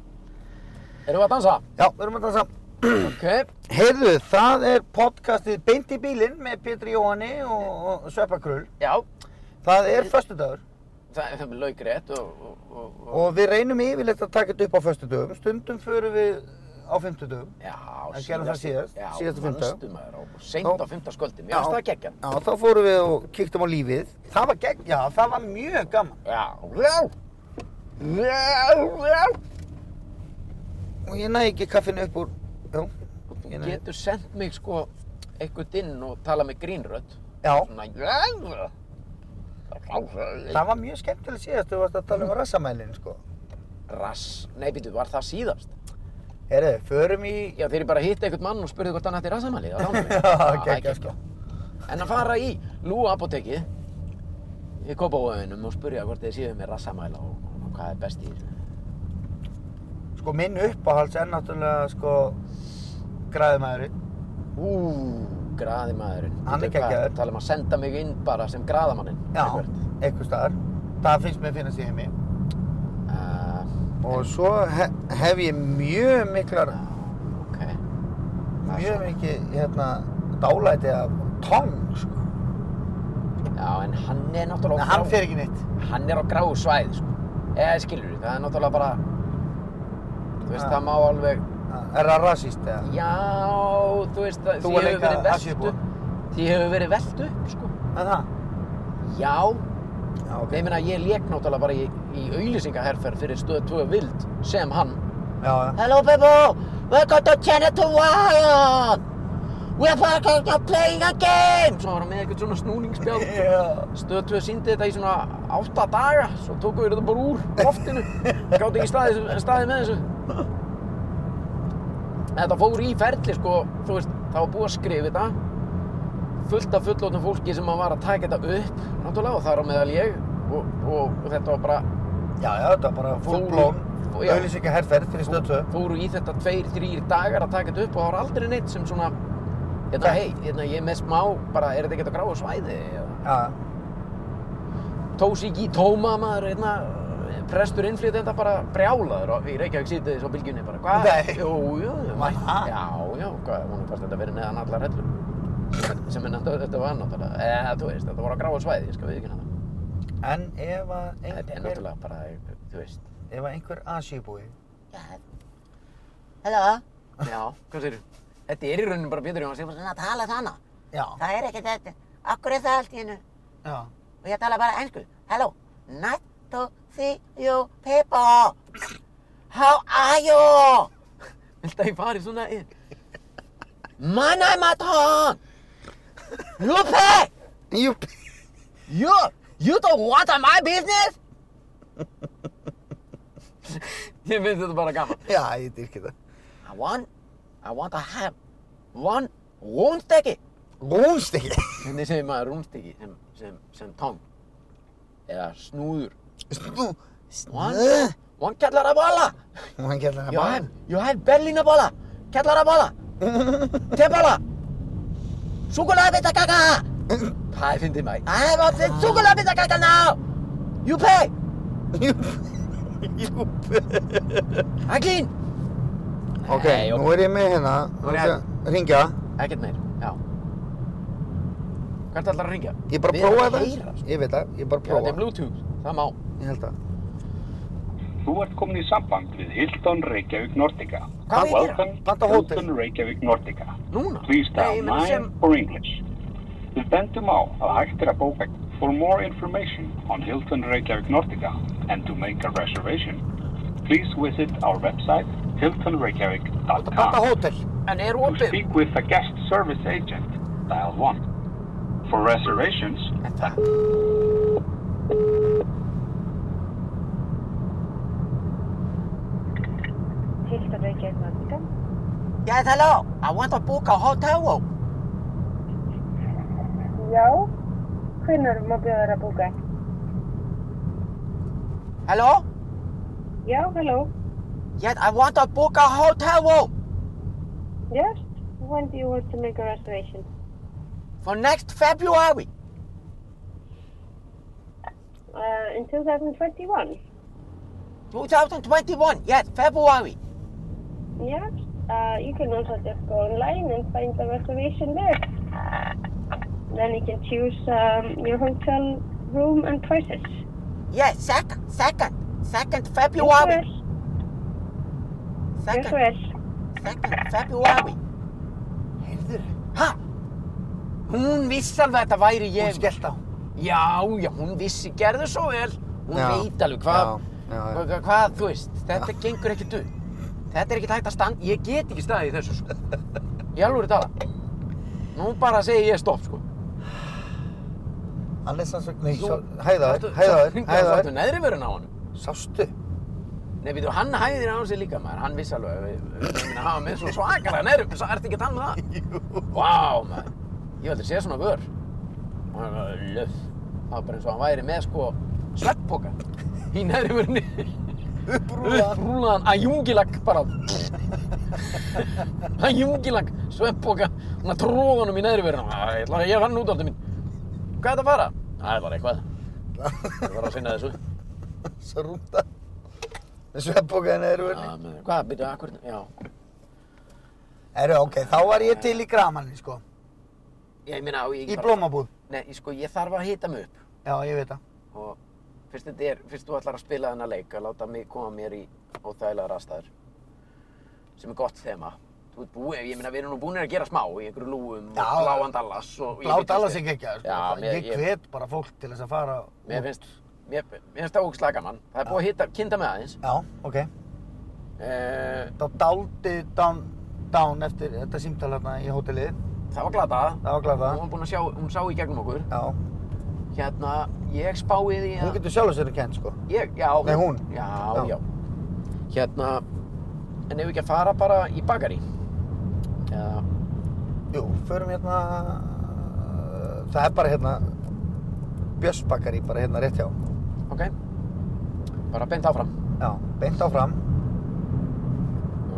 Erum við að dansa? Já, við erum að dansa. Ok. Heyrðu, það er podcastið Beint í bílinn með Pétur Jóhanni og, og Sveppa Krull. Já, Það er föstudagur það það er laugrétt og, og, og, og... og við reynum yfirleitt að taka þetta upp á föstudagum. Stundum förum við á fymtudagum. Já, En gerum það síðast, já, síðasta fimmtudag. manstu maður á, seint á Já. fymtasköldum, já, það er geggjan. Já, þá fórum við og kíktum á lífið. Það var gegn, já, það var mjög gaman. Já, já, já, já. Og ég næði ekki kaffinu upp úr, já, ég Þú næði, getur sendt mig sko einhvern inn og tala með grínrödd. já, Svona, já, já. það var mjög skemmtileg síðast, þú varst að tala um rassamælinn, sko. Rass, nei, býtu, var það síðast? Herru, förum í, Já, þeir eru bara að hitta einhvern mann og spurðu hvort hann ætti rassamæli. Já, [laughs] já, geggja, sko. En að fara í Lúa apotekið í Kópavóðunum og spurja hvort þið séu með rassamæla og, og hvað er best í þessu. Sko, minn uppáhalds er náttúrulega, sko, græðumæðurinn. Ú, graði maðurinn. Hann er Bíddu, hvað ertu geggjaður. að Tala um að senda mig inn bara sem graðamanninn. Já, einhver staðar. Það finnst mér að finna sig heimi. Uh, Og svo he hef ég mjög miklar, ok. mjög mikið, hérna, dálæti af tóng, sko. Já, en hann er En náttúrulega... hann fer ekki neitt. hann er á gráu svæði sko. eða skilur það er náttúrulega bara þú veist Ja. það má alveg Ah, Er það rasist, eða? já þú veist það Þú því er hefur líka verið velt asíubúi. upp því hefur verið velt upp sko. Er það? já Já, ok. ég meina ég lék náttúrulega bara í, í auðlýsingaherferð fyrir stöð 2 vild sem hann Já, já. hello people welcome to Chinatown Wild we're fucking playing a game svo var hann með eitthvað svona snúningsspjál Já. Stöð 2 síndi þetta í svona átta daga, svo tókum við þetta bara úr loftinu, gáttu ekki staðið staði með þessu. Þetta fór í ferli, sko, þú veist, það var búið að skrifa þetta, fullt af fullóttum fólki sem að var að taka þetta upp, náttúrulega, og þar á meðal ég, og, og, og þetta var bara, Já, já, þetta var bara full Full- blown full- já. auðlýsingar herrferð fyrir stöðtöðu. fóru í þetta tveir, þrýr dagar að taka þetta upp og það var aldrei neitt sem svona, hérna, hei, hérna, ég er með smá, bara, er þetta ekkert að gráa svæði, eða, Já, Tósíki Tóma maður hérna prestur innflytenda bara brjálaður og í Reykjavík sýtið á bylgjunni bara hvað? Nei. Jú, jú, jú, Var það? já, já, hvað, hún fannst þetta verið neðan allar hellur sem er- sem er náttúrulega, þetta var náttúrulega, eða þú veist, þetta var á gráa svæði, ég skal við ekki hana en ef að þetta er einhver, náttúrulega bara, þú veist ef að einhver asjubúi, já, hvað segir þetta er í rauninu bara Pétur Jóhann sem bara, svona að tala þannig. já, Það er ekkert þetta. Akkur er það allt í hennu. já, Og hérna ég tala bara ennsku. Hello. Nice to see you people. How are you? viltu að ég fari svona inn? My name is Tom. Lupe. jú, [laughs] You. You don't want my business? ég finnst þetta bara gaman já, ég dyrki það. I want. I want to have one woundsteki. Gónst ekki. hvernig segir maður rúmstykki sem, sem, sem tóng eða snúður Snú, one, one kallar að bolla og hann gerði hann Ég að hef, bara, ég hef berlínabola, kjallarabóla, tebola, súkulæðabitakaka. Það er fyndið mæ. I want this sukulabitakaka now. You pay. [laughs] jú, jú. Aglín! Ok, Nei, nú er ég með hérna, Nú er ég hann ringja, Ekkert meir, já. Hvert ætlar að ringja? ég bara Við erum prófa að það, heyra, sko. ég veit það, ég bara Já, þetta er prófa, Bluetooth, það má. ég held það. Þú ert komin í samband við Hilton Reykjavík Nordica. Hvað á ég að gera? Welcome Panta hótel. Hilton Reykjavík Nordica. Núna? Please Nei, dial ég meina 9 sem- for English. Við bendum á að hægt er að bóka for more information on Hilton Reykjavík Nordica and to make a reservation. Please visit our website Panta hiltonreykjavík.com hótel, En er To opið? speak with a guest service agent, dial 1. For reservations, Þetta. Hilton Reykjavík Nordica. Yes, hello. I want to book a hotel room. Já, hvenær má bjóða þér að búka? Hello? Já, hello. Yes, I want to book a hotel room Yes? When do you want to make a reservation? for next February. Uh, in 2021? 2021, yes, February. Yes? Uh, you can also just go online and find the reservation there. Then you can choose um, your hotel room and prices. Yes, second, second, second Yes, February. yes. Yes, Second, yes. second February. Heyrður, Ha? Hún vissi alveg að þetta væri hún ég. skellt á. Já, já, hún vissi, gerðu svo vel. Hún Já, veit alveg hvað, já, já, já. hvað, hvað, þú veist, þetta gengur ekkert upp. Þetta er ekkert hægt að standa, ég get ekki staðið í þessu, sko. Ég alveg er tala. Nú bara segi ég stopp, sko. Hann er sannsögn, nei, Þú- svo, hæðaður, Sástu- hæðaður, sástu- Sástu hæðaður. neðri vörun á hann. Sástu? Nei, við þú, hann hæðir á sig líka, maður. Hann vissi alveg, við, við, við, hann var með svona svakalega neðri, svo ertu ekki að tala með það. Jú. Vá, maður. Ég hef aldrei séð svona vör. Og hann var löf. Það var bara eins og hann væri með, sko, svepppoka í neðri vörunni. Upprúðan. upprúlaðan ajungilag bara ajungilag sveppoka hún að tróða honum í neðri verðina ég ætla að ég vann út af þetta mín hvað er þetta að fara? það er bara eitthvað ég var að sinna þessu Svo rúnda. Með sveppokaðin eða Já, erfurni. með, hvað, byrju, akkur já Herru, ok, þá var ég til í gramanni, sko. ég meina, og ég Í blómabúð. nei, sko, ég þarf að hita mig upp Já, ég veit það. og fyrst þetta er fyrst þú ætlar að spila þennan leik að láta mig koma mér í óþægilegar aðstæður sem er gott þema Þú ert búið, ég meina við erum nú búinir að gera smá í einhverju lúum Já. og bláan Dallas og ég Blá veit ekki- Dallas er geggjaður, sko. Já, mér- Ég hvet bara fólk til þess að fara. Mér finnst, mér, mér finnst það ógislega gaman. Það er búið að hitta, kynnta mig aðeins. Já, ok. Uh, Þá dáldi down, down eftir þetta símtal hérna í hótelið. það var glata. Það var glæða. Hún var búin að sjá, hún sá í gegnum okkur. Já. Hérna, ég spái því Hún að... getur sjálf sér að kent, sko. Ég, já. Nei, hún. Já, Já. já. Hérna, en ef við ekki að fara bara í bakari. Eða, Jú, förum hérna... Það er bara hérna... Björnsbakari, bara hérna rétt hjá. ok. Bara beint áfram. Já, beint áfram.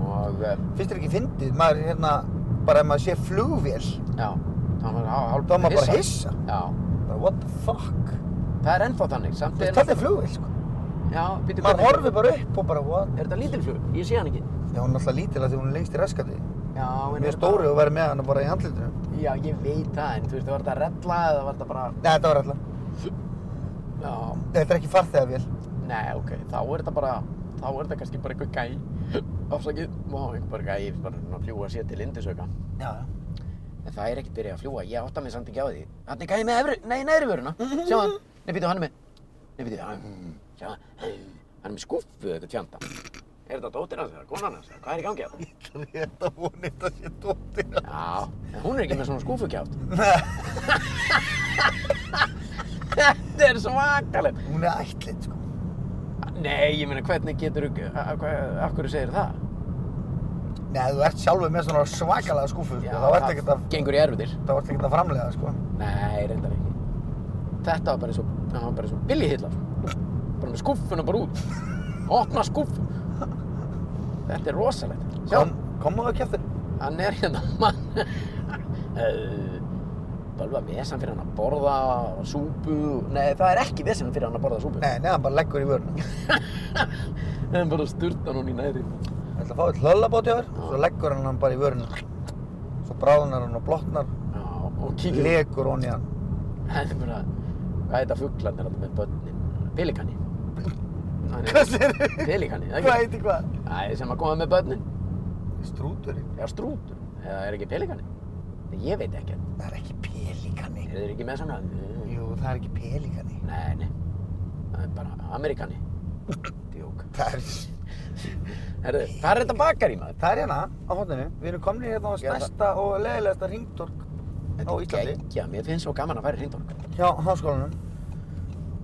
Og, uh, Finnst þér ekki fyndið? Maður hérna... Bara ef maður sé flugvél, já, þá var hál- hálf... þá er maður bara hissa. Já, Bara what the fuck? það er ennþá þannig. Samt er... Þetta er flugvél, sko. Já, býttu Maður horfir bara upp og bara what? Er þetta lítilflug? Ég sé hann ekki. Já, hún er alltaf lítilega því hún er lengst í raskandi. Já, en Mjög er þetta- stóri og verið með hana bara í handlitinu. Já, ég veit það, en þú veist, var þetta rella eða var þetta bara... Nei, þetta var alltaf. Já, Þetta er ekki farþegavél. nei, ok, þá er þetta bara, þá er þetta kannski bara einhver gæ, afsakið, má, einhver bara gæ, bara svona að fljúa sér til Indisöka. Já, já. En það er ekkert byrjað að fljúa, ég átta mig samt ekki á því. Þannig gæ með efri, nei, neðri vöruna, sjá hann, nei, býtu, hann er með, nei, býtu, hann, sjá hann, hann er með skúffu eða eitthvað tjanda. Er þetta dóttir hans eða konan hans, eða hvað er í gangi að það? Ég held að hún eitt að sé dóttir hans. Já, en hún er ekki með svona [laughs] skúffukjátt. Nei, Þetta er svakalegt. hún er ætlit, sko. Nei, ég meina, hvernig getur, af hverju segir það? Nei, þú ert sjálfur með svona svakalega skúfu, sko. Það vart ekkert að, Gengur í erfiðir. það vart ekkert að framlega, sko. Nei, reyndar ekki. Þetta var bara eins og, það var bara eins og billi hillar. Bara með skúffuna bara út. Opna skúff. Þetta er rosalegt. Sjá, Kom, komu það kjæftur? hann er hérna, mann. Eh, Bölva vesan fyrir hann að borða súpu. Nei, það er ekki vesan fyrir hann að borða súpu. Nei, nei, hann bara leggur í vöruna. En bara sturtan hún í næri. Hann ætla að fá eitt hlöllabót hjá þér, svo leggur hann hann bara í vöruna. Svo bráðnar hann og blotnar, Já, og kíkir. legur hon í hann. Þetta er bara, hvað heita fuglarnir hann með börnin? Pelikani. Hvað segirðu? Pelikani, það Hvað ekki? heitir hvað? Æ, sem að koma með börnin. Strúturinn. Já, strútur. Eða er ekki pelikani? Ég veit ekki. Það er ekki pelikani. Er þeir ekki með svona? Jú, það er ekki pelikani. Nei, nei. Það er bara amerikani. Djók. [laughs] Það er, Herðu, hvað er þetta bakar í maður? það er hérna á hotninu. Við erum komni hérna á Já, það- stærsta og leðilegasta ringtork á Íslandi. Gengja, mér finnst svo gaman að færa hringdók. Hjá háskólanum.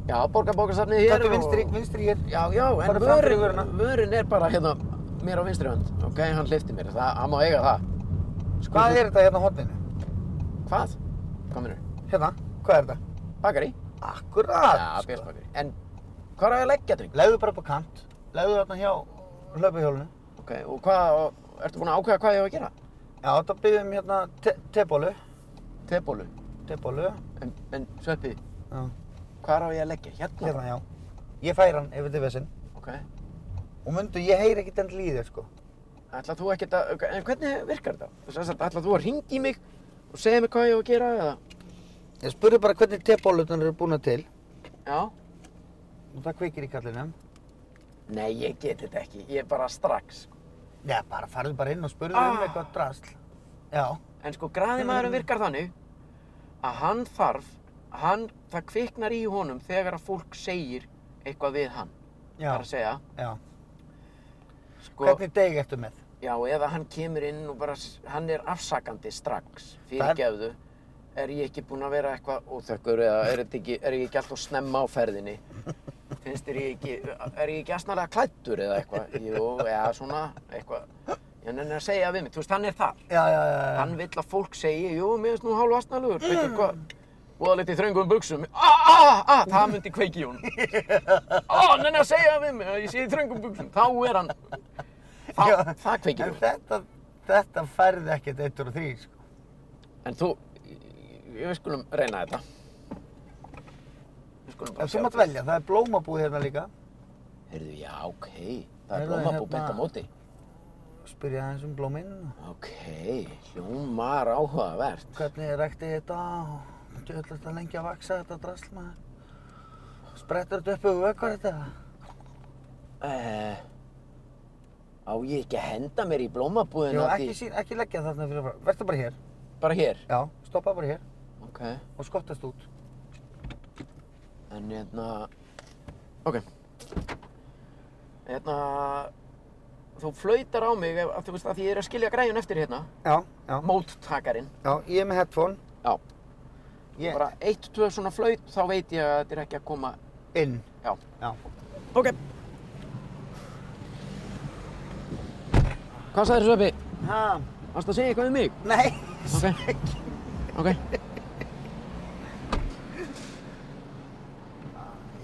Já, borgarbókasafnið hér Þetta er vinstri, vinstri hér. Já, já, en Farðu fram fyrir vöruna. vörun, vörun er bara hérna mér á vinstri hönd. Ok, hann hlifti mér. Það, hann má eiga það. Sko, Hvað er þetta hérna á hotninu? Hvað? Hvað minnur? Hérna, hvað er þetta? Bakari? Akkurat! Já, sko. björnsbakari. En Hvað er að leggja dreng? Legðu bara upp á kant, legðu þarna hjá hlaupahjólinu. Ok, og hvað, og ertu búin að ákveða hvað ég á að gera? Já, þetta byggjum hérna te tebólu, Tebólu. tebólu, En, en sveppi, Já. hvað á ég að leggja? Hérna? hérna já. Ég fær hann ef þetta er vesinn. Ok. Og mundu, ég heyri ekkert enn líðir sko. Ætlað þú ekkert að, en hvernig virkar þetta? Þess að ætlað þú að ringi mig og segja mig hvað ég á að gera eða? Ég spurði bara hvernig tebólutunar eru búna til. Já. Og það kveikir í kallinum. Nei, ég get þetta ekki. Ég er bara strax. sko. Já, bara farðu bara inn og spurðu Ah. um eitthvað drasl. Já, En sko, graðimaðurinn virkar þannig að hann þarf, hann, það kviknar í honum þegar að fólk segir eitthvað við hann. já, Það er að segja, já. sko, Hvernig deg ertu með? já, eða hann kemur inn og bara, s- hann er afsakandi strax, fyrirgefðu. Er ég ekki búinn að vera eitthvað óþökkur eða er, þetta ekki, er ég ekki alltaf snemma á ferðinni? [laughs] Finnst þér ég ekki, er ég ekki aðsnalega klættur eða eitthvað? Jú, eða svona, eitthvað. Ég nenni að segja við mig, þú veist, hann er þar. Já, já, já, já. Hann vill að fólk segi, jú, mér finnst nú hálf astnalugur, mm. veitir hvað, voðalegt í þröngum buksum, a, a, a, ah, það myndi kveiki í [laughs] hún. Ó, hann er að segja við mig að ég sé í þröngum buksum, þá er hann, það, Já. það kveiki í En hún. þetta, þetta færði ekkert eitt úr þrý sko. En þú, við skulum reyna þetta. Við skulum bara Ef þú mátt hvað- velja, það er blómabúð hérna líka. Heyrðu, já, ok, það er Heyrðu, blómabú hérna- beint á móti. Spyrja aðeins um blóminn. Ok, hljómar áhugavert. Hvernig rækti ég þetta? Þú ætlaði þetta lengi að vaksa þetta drasl maður. Sprettur þetta upp yfir vökkar þetta? Uh, á ég ekki að henda mér í blómabúðina? Jú, af ekki, því- sín, ekki leggja þarna fyrir fram. Vertu bara hér. Bara hér? Já, stoppa bara hér Ok. og skottast út. En hérna, ok, hérna, þú flautar á mig, ef, þú veist, að því ég er að skilja græjun eftir hérna, Já, já. móttakarinn, Já, ég er með headphone. Já. Ég bara eitt, tvö svona flaut, þá veit ég að þetta er ekki að koma, inn. já. Já. Ok. Hvað sagðir Sveppi? Ha, Varst að segja eitthvað um mig? nei. Ok. Ok.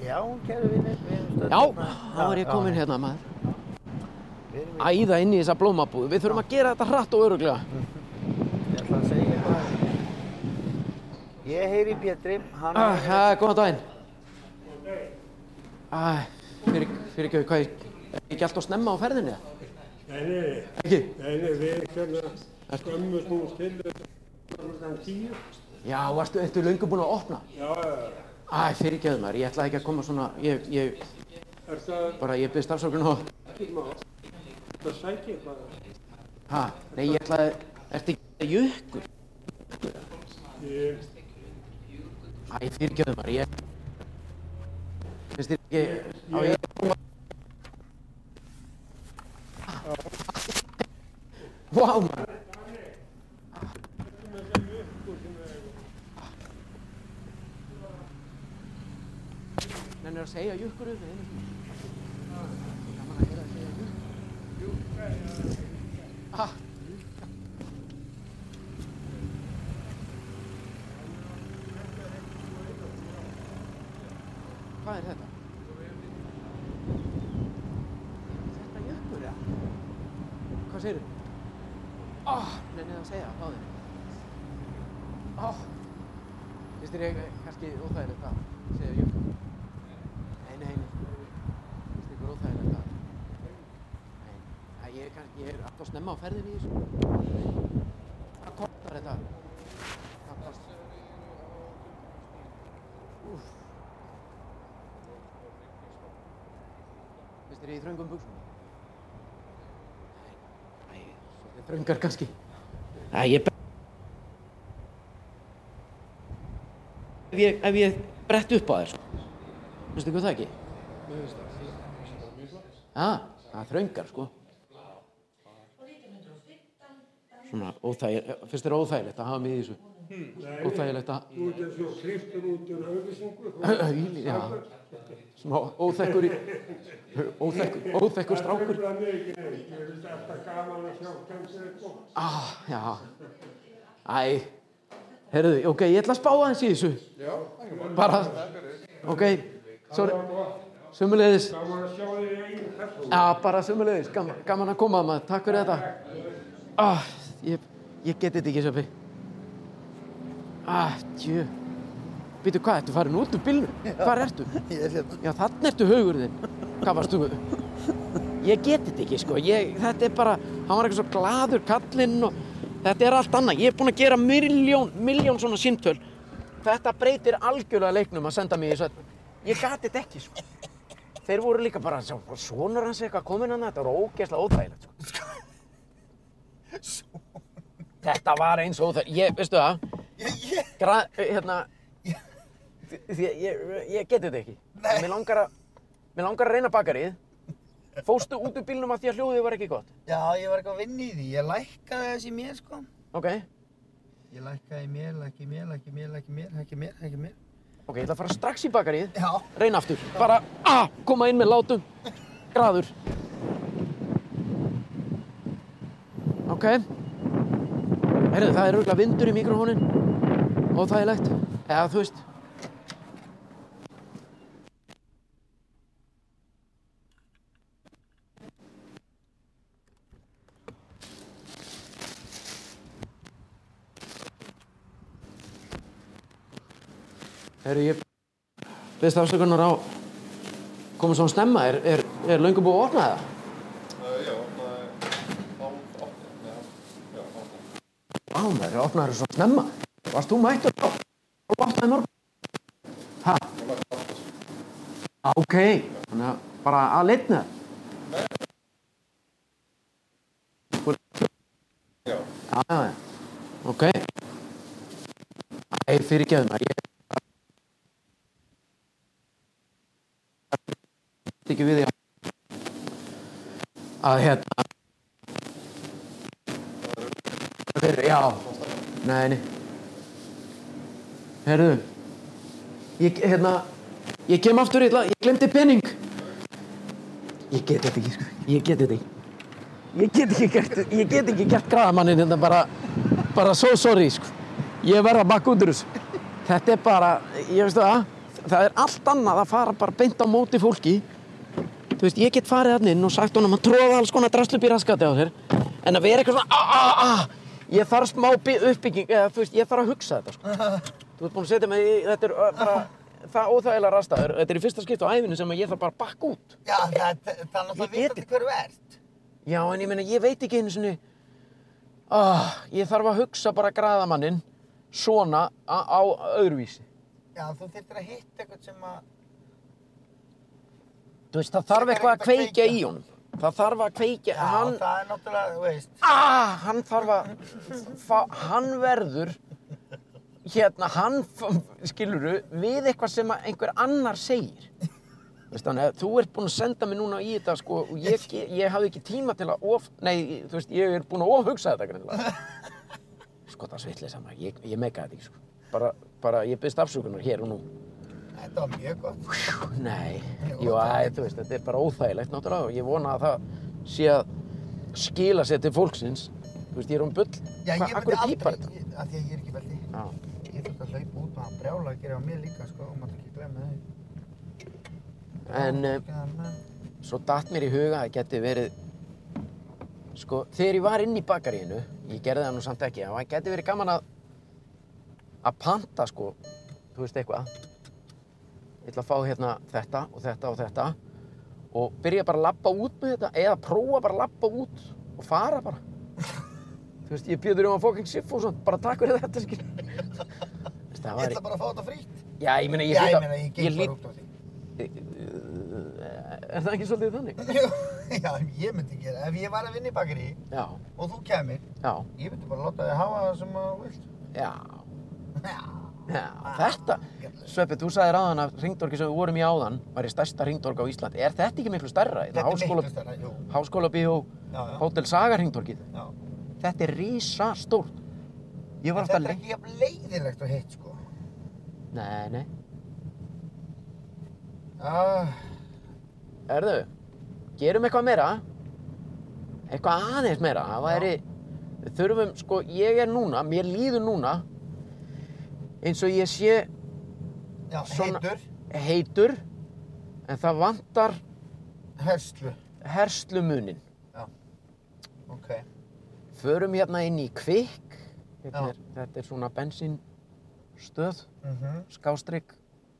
Já, kæru vinnir, við erum stöðum Já, þá er ég kominn hérna maður. Æ. Æða inn í þessa blómabúð, við þurfum að gera þetta hratt og öruglega. Ég ætla að segja bara. Ég heyri í Pétri, hann Ah, ah, góðan daginn. Ah, fyrir, fyrir ekki, hvað, ég- er ég ekki alltaf snemma á ferðinni? Nei, nei, Ekki? nei, nei, við hérna skömmust nú til eh, klukkan tíu. Já, varstu, ertu löngu búin að opna? Já, já, já. Æ, fyrir ekki maður, ég ætlaði ekki að koma svona, ég, ég, er það bara, ég byrðist afsökun og, ekki má? Það sækir bara. ha, nei, ég ætlaði, ertu ekki að jökkur? Ég, Æ, fyrir ekki maður, ég, finnst þér ekki, á ég, vá, maður, henni er að segja jökkur um það, Hvað er þetta? Þetta jökkur eða? Hvað segir þú? Oh, nennið að segja báðir. Oh, finnst þér ég kannski óþægilegt að segja jökkur? Nei, nei, nei. Finnst þér ykkur óþægilegt að? Nei, Æ, ég er kannski, ég er alltaf snemma á ferðinni í þessu. Hvað kostar þetta? Hvað kostar? Úff. Finnst þér ég í þröngum buksum? Nei, nei, svolítið þröngar kannski. Nei, ég... Ef ég, ef ég brett upp á þér, sko. Finnst þér hvað það ekki? Já, það er þröngar, sko. Svona óþægilegt, finnst þér óþægilegt að hafa mig í þessu? Óþægilegt að... út er svo kliftur út úr auðvisingu. Já, smá óþekkur í... Óþekkur, óþekkur strákur. Það er ekki neitt. Ég finnst alltaf gaman að sjá hvernig það er komið. Ah, já. Æ, herruðu, ok, ég ætla að spá aðeins í þessu. Já, bara, ok, sorry, Sumulegis. Gaman að sjá þig í eigin persónu. Já, bara sumulegis. Gaman, gaman að koma maður. Takk fyrir þetta. Ah, ég, ég geti þetta ekki, Söpi. Ah, tjö. Býtu, hvað, ertu farin út úr bílnum? Hvar ertu? Ég er hérna. Já, þannig ertu haugur þinn. Hvað varst þú? Ég geti þetta ekki, sko. Ég, þetta er bara, hann var eitthvað svo gladur kallinn og þetta er allt annað. Ég er búinn að gera miljón, miljón svona símtöl. Þetta breytir algjörlega leiknum að senda mig í sveit. Ég gati þetta ekki, sko. Þeir voru líka bara, sjá, sonur hans eitthvað kominn hann, þetta var ógeðslega óþægilegt, sko. Þetta var eins og óþægilegt. Ég, veistu það? Ég, Gra, hérna, því að ég, ég geti þetta ekki. Nei. Mér langar að, mér langar að reyna bakarið. Fóstu út úr bílnum að því að hljóðið var ekki gott. já, ég var eitthvað að vinna í því. Ég lækkaði þessi mér, sko. Ok, Ég lækkaði mér, lækki mér, lækki mér, lækki mér, hækki mér, hækki mér. ok, ég ætla að fara strax í bakarið. Já. Reyna aftur. Bara, ah, koma inn með látum. Graður. Ok. Heyrðu, það er auðvitað vindur í mikrofónin. Óþægilegt. Eða, þú veist. Heyrðu, ég Beðst afsökunar á komið svona snemma, er, er, er löngu búið að opna það? Já, maður er opnaður svona snemma. Varst þú mættur á? Þú opnaði morgun? Hæ? Ég mætti átt Ok, þannig að bara að litna það? Nei. Já. Já, já, ok. Æ, fyrirgeðu maður, ég kannast ekki við því að að hérna Þeir, já nei, nei herðu ég, hérna, ég kem aftur illa ég glemdi pening ég get þetta ekki, sko, ég get þetta ekki ég get ekki gert, ég get ekki gert graðamannin hérna bara bara so sorry, sko ég verð að bakka út úr þessu þetta er bara, ég veistu það það er allt annað að fara bara beint á móti fólki þú veist, ég get farið hann inn og sagt honum að tróða alls konar drasslubí raskati á þér en að vera eitthvað svona a, a, a, ég þarf smá bi- uppbygging eða þú veist, ég þarf að hugsa þetta sko. þú ert búin að setja mig í, þetta er ö, bara það óþægilega rastaður, þetta er í fyrsta skipt á æfinu sem að ég þarf bara að bakka út Já, það, það, það er náttúrulega Ég get vitandi hverju ert. já, en ég meina, ég veit ekki einu sinni ah, ég þarf að hugsa bara graðamanninn svona á, á öðruvísi Já, þú þurftir að hitta eitthvað sem að... þú veist, það þarf er eitthvað að ekkert að kveikja kveikja. í honum það þarf að kveikja, Já, hann það er náttúrulega, þú veist. ah, hann þarf að fá, hann verður hérna, hann skiluru við eitthvað sem að einhver annar segir Veist, þannig að þú ert búinn að senda mig núna í þetta sko, og ég, ge- ég hafði ekki tíma til að of, nei, þú veist, ég er búinn að ofhugsa þetta greinlega sko það svitlega saman, ég, ég meika þetta ekki sko. bara, bara, ég byrst afsökunar hér og nú Þetta var mjög gott. Nei, jú, æ, þú veist, þetta er bara óþægilegt náttúrulega og ég vona að það sé að skila sér til fólksins. Þú veist, ég er um bull. Já, ég myndi akkur er aldrei... pípar þetta? Ég, að því að ég er ekki veldi. Já, Ég þurfti að hlaupa út og hann brjála að gera á mér líka, sko. Og maður ekki glemma þau. en uh, svo datt mér í huga að það geti verið, sko, þegar ég var inn í bakaríinu, ég gerði það nú samt ekki, en það geti verið gaman að, að panta, sko, þú veist eitthvað. Ég ætla að fá hérna þetta og þetta og þetta og byrja bara að labba út með þetta eða prófa bara að labba út og fara bara. [laughs] Þú veist, ég bjöður um að fóking Siffússon, bara takk fyrir þetta, skil. [laughs] Það Ég var, ætla bara að fá þetta frítt. já, ég meina, ég Já, ég hlýt meina, að, ég ég geng bara hlýt, út á því. [laughs] eh, er það ekki svolítið þannig? Já, ég myndi gera. Ef ég var að vinna í bakari Já, og þú kemur, já, ég myndi bara láta þig hafa það sem að þú vilt. [laughs] já, Já. já, þetta, Sveppi, þú sagði ráðan að ringdorki sem við vorum í áðan var í stærsta ringdork á Íslandi. Er þetta ekki miklu stærra? Þetta er miklu háskóla, stærra, jú. háskóla bíó, Já, já. Hotel Saga ringdorkið. Já. Þetta er rísa stórt. Ég var Þetta alltaf er lengi. ekki jafn leiðilegt og hitt, sko. Nei, nei. Ah, Erðu, gerum eitthvað meira. Eitthvað aðeins meira. Það væri, við þurfum, sko, ég er núna, mér líður núna eins og ég sé já, Svona- heitur. heitur En það vantar Herslu. herslumunin. Ok. Förum hérna inn í kvikk. Hérna Já. er, þetta er svona bensinstöð, Mm -hmm. skástrygg.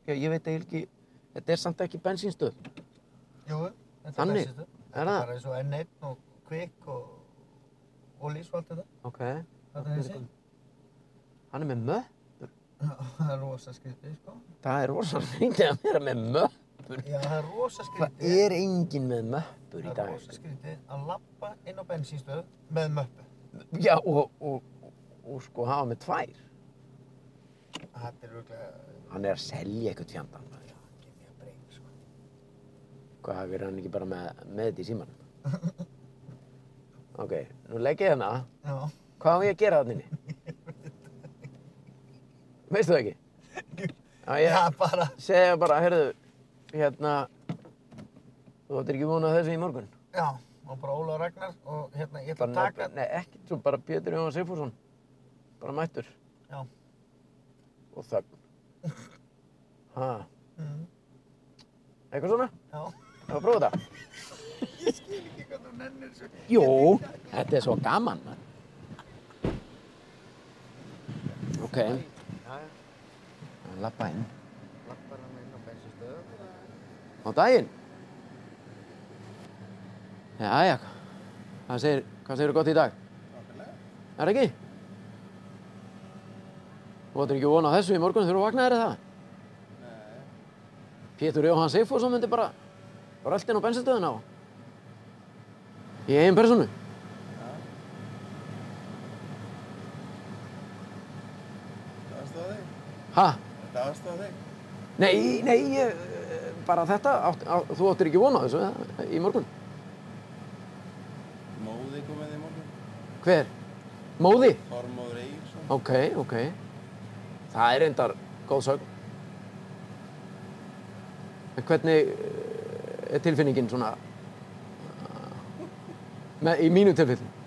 Já, ég veit eiginlega ekki, þetta er samt ekki bensinstöð. Jú, þetta er Þannig? bensinstöð. Þetta Er er það? bara eins og N1 og Quick og Olís og allt þetta. Ok. Þetta er þessi. Hann er með möpp. Það er rosa skrítið, sko. Það er rosalega skrítið að vera með möpp. Já, það er rosa skrítið. Það er enginn með möppur í Það er dag. rosa skrítið að lappa inn á bensínstöð með möppu. Já, og, og, og, og sko hafa með tvær. Þetta er rúglega, Hann er að selja eitthvað fjandann. maður. ekki mjög breyk, sko. Hvað hafið hann ekki bara með, með þetta í símanum? [laughs] ok, nú legg ég hérna. Já, Hvað á ég að gera þarna inni? Veistu það ekki? Já, já, ég bara, segja bara, heyrðu, hérna, þú ættir ekki vonað þessu í morgun. já, og bara Óla og Ragnar og hérna, ég ætla að Bara, taka, nei, ekki, svo bara Pétur Jóhann Sigfússon. Bara mættur. Já. Og þögn. Ha, mm, eitthvað svona? já, Það var að prófa þetta? ekki hvað þú nennir svo. Jú, þetta er svo gaman. man. Ok, Já, já. lappa inn. Lappar hann inn á bensinstöðu. Á daginn? Jæja, hvað segir, hvað segir gott í dag? Er það ekki? Þú ættir ekki vona þessu í morgun þegar þú vaknaðir eða það? Nei. Pétur Jóhann Sigfússon myndi bara röltin á bensinstöðuna á. Í eigin personu. Þetta aðstofa þig? Ha? Þetta aðstofa þig? Nei, nei, ég, eh, bara þetta, átt, á, þú áttir ekki vona þessu eða, í morgun. Móði komið þig í morgun. Hver? Móði? Þormóður Egilson. Ok, ok. Það er reyndar góð sögn. En hvernig eh, er tilfinningin svona eh, með, í mínu tilfellin?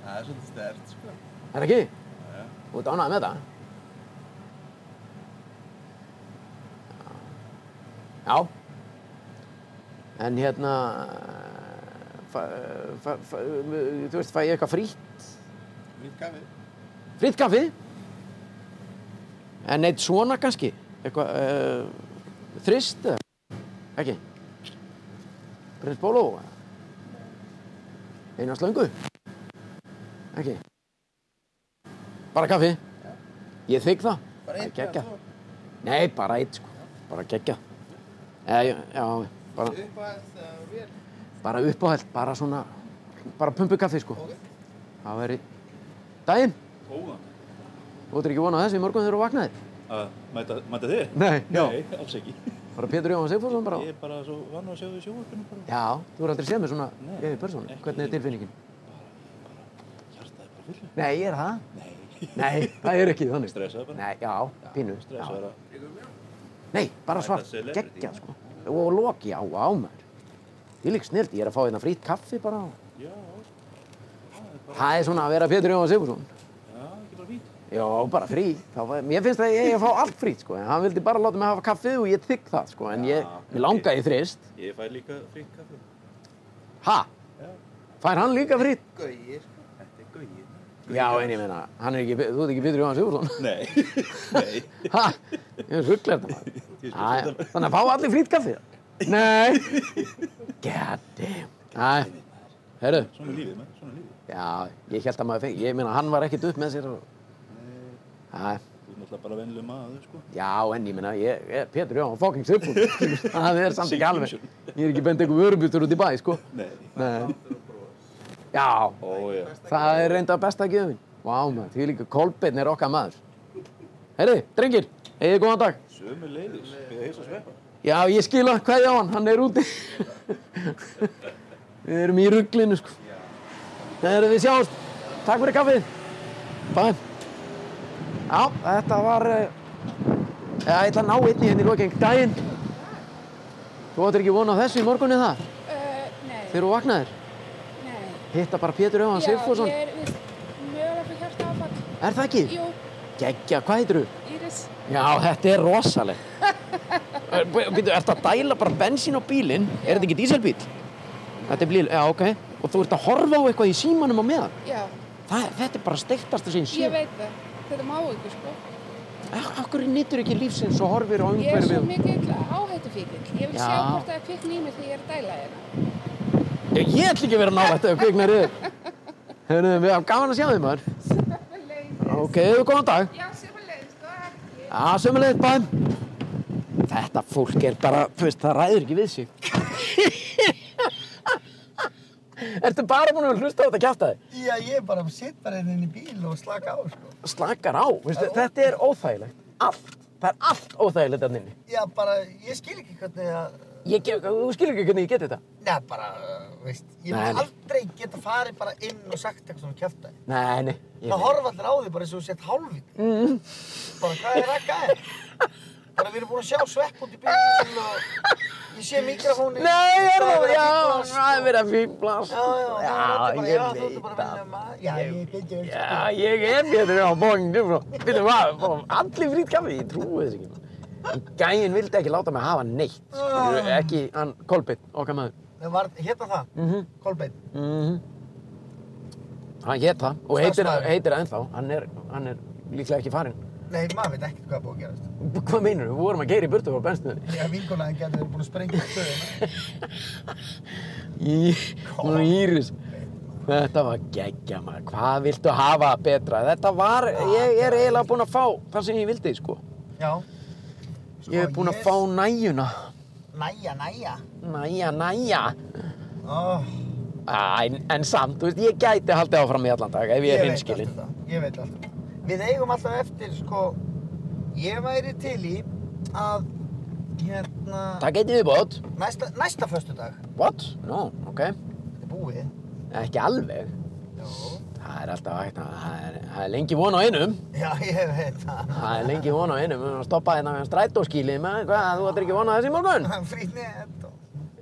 Það er svolítið stert, sko. Er það ekki? já. Þú ert ánægð með það? Já. En hérna, eh, fæ, fæ, fæ, þú veist, fæ ég eitthvað frí? Nýtt gafið. Fritt kaffi. En eitt svona kannski. Eitthvað, uh, þrist eða? Ekki. Prins Bóló. Einar slöngu. Ekki. Bara kaffi. Ég þykk það. Bara eitt geggjað. Nei, bara eitt sko. Bara geggja. Já, já, bara, Uppæðast uh, vel. bara uppáhælt, bara svona, bara pumpukaffi sko. Það væri daginn. Góðan. Þú ættir ekki vonað þessu í morgun þegar þú vaknaðir? Að mæta, mæta þig? Nei, já. Nei, alls ekki. Bara Pétur Jóhann Sigfússon bara? Ég er bara svo vann að sjá þig í sjónvarpinu bara. Já, þú er aldrei séð mér svona Nei, yfir persónu. ekki Hvernig er ég. tilfinningin? Hjartaði bara fullu. Nei, ég er það. Nei. Nei, það er ekki þannig. Stressaður bara. Nei, já, pínu. Stressaður já. að Nei, bara Mæta svart. celebrity. Gekkja, sko. Og loki á á maður. Því lík snilt, ég er að fá hérna frýtt kaffi bara. Já, Það er svona að vera Pétur Jóhann Sigfússon. já, ekki bara fít. Já, bara frí. Þá, var- mér finnst að ég, ég fá allt frýtt, sko. En hann vildi bara láta mig hafa kaffið og ég þykk það, sko. En ég, Já, mér langaði í þrist. Ég fæ líka fritt kaffi. Ha? Fær hann líka frýtt? Gauir, sko. Þetta er gauir. Já, en ég meina, hann er ekki, þú ert ekki Pétur Jóhann Sigurðsson. Nei, [laughs] nei. Ha, ég er rugglega þetta maður. Ég Æ, skal setja Þannig að fá allir frýtt kaffið? Nei. God damn. Æ, herru, Svona er lífið, maður. Svona er lífið. já, ég held að maður fengi, ég meina, hann var ekkert upp með sér og... Æ, Þú er náttúrulega bara vennileg maður, sko. já, en ég meina, ég, ég Pétur Jóhann fucking [laughs] Sigurðsson. Það er samt ekki alveg. Sigurðsson. Ég er ekki bendið einhver vörubjútur út í bæ, sko. Nei. Nei. Já, Ó, já. það er reynda besta gjöfin. Vá, maður, því líka Kolbeinn er okkar maður. Herru, drengir, eigið góðan dag. Sömu leiðis. Við heilsa sveppa. Já, ég skil að hvað á hann, hann er úti. við erum í rugglinu, sko. Það eru við sjáumst. Takk fyrir kaffið. Bæ. Já, þetta var... eh, Já, ég ætla að ná einni hérna í loking daginn. Þú áttir ekki vona á þessu í morgunni það? Uh, nei, Þegar þú vaknaðir? nei. Hitta bara Pétur Jóhann Sigfússon. Já, ég er víst mögulega fyrir hjarta áfall. Er það ekki? Jú, Geggja, hvað heitir þú? Íris. Já, þetta er rosalegt. Er- Býtu, ertu að dæla bara bensín á bílinn? Er þetta ekki díselbíl? Þetta er bíl, já, ok. Og þú ert að horfa á eitthvað í símanum á meðan? Já, Það, þetta er bara steiktast að segja ég síðan. veit það. Þetta má ekki, sko. Akkur nýttur ekki lífsins og horfir á Ég er svo umhverfið? mikill áhættu fíkill. Ég vil Já. sjá hvort það er kvikn í mig þegar ég er að dæla hérna. Ég, ég ætl ekki að vera nálægt ef kviknar [laughs] yfir. Hörru, við hafum gaman að sjá þig maður. Ok, hefur góðan dag. Já, sömulegis, góða helgi. Já, sömulegðið bæðum. Þetta fólk er bara, þú veist, það ræður ekki við sig. [laughs] Ertu bara búin að hlusta á þetta kjátaði? Já, ég er bara að setja bara hérna inn í bíl og slaka á, sko. Slakar á, veistu, þetta er óþægilegt. Allt, það er allt óþægilegt að nynni. Já, bara, ég skil ekki hvernig að... Ég gef, þú skilur ekki hvernig ég get þetta. Nei, bara, uh, veist, ég Nei, mun nei. aldrei geta farið bara inn og sagt eitthvað svona kjæftæði. Nei, nei. ég Það veit. horfa allir á því bara eins og þú sett hálfið. Mm. Bara, hvað er rakka þér? Bara, við erum búin að sjá svepp út í bílinn og ég sé mikrofónin. Nei, er er það, verið já, að fíflast það er og- verið að fíblast. Já, já, já, já, já, ég þú ert veit bara að vinna maður. Já, ég sko. veit ekki. Já, ég er hérna á bónginu frá. Viltu hvað, fá allir frýtt kaffi, ég trúi þess ekki. En Gæinn vildi ekki láta mig hafa neitt. sko. skilurðu, Ekki hann Kolbeinn, okkar maður. Það var, hérna það, Kolbeinn. Mhm. Hann hét það og heitir, Starfsmaður. heitir það ennþá. Hann er, hann er líklega ekki farinn. Nei, maður veit ekkert hvað er búið að gerast. Hvað meinur Við vorum að geira í burtu frá bensinuðinni. Já, vinkonaðin getur verið búin að sprengja stöðuna. Í, hún Íris. Þetta var geggja maður. Hvað viltu hafa betra? Þetta var, ég er eiginlega búinn að fá það sem ég vildi, sko. Já. Sko, Ég er búinn að fá næjuna. Næja, næja. Næja, næja. Oh, Æ, en, en samt, þú veist, ég gæti haldið áfram í allan dag ef ég Ég er veit hinskilinn. ég veit allt. um það. Við eigum alltaf eftir, sko, ég væri til í að, hérna, Takk eitt í viðbót. næsta, næsta föstudag, What? No, ok. þetta er búið. Ekki alveg. Það er alltaf hægt að, það er, það er lengi von á einum. Já, ég veit það. Það er lengi von á einum. Við erum að stoppa hérna með strætóskílið með, hvað, þú ættir ekki von á þessi í morgun? Frýtt nett og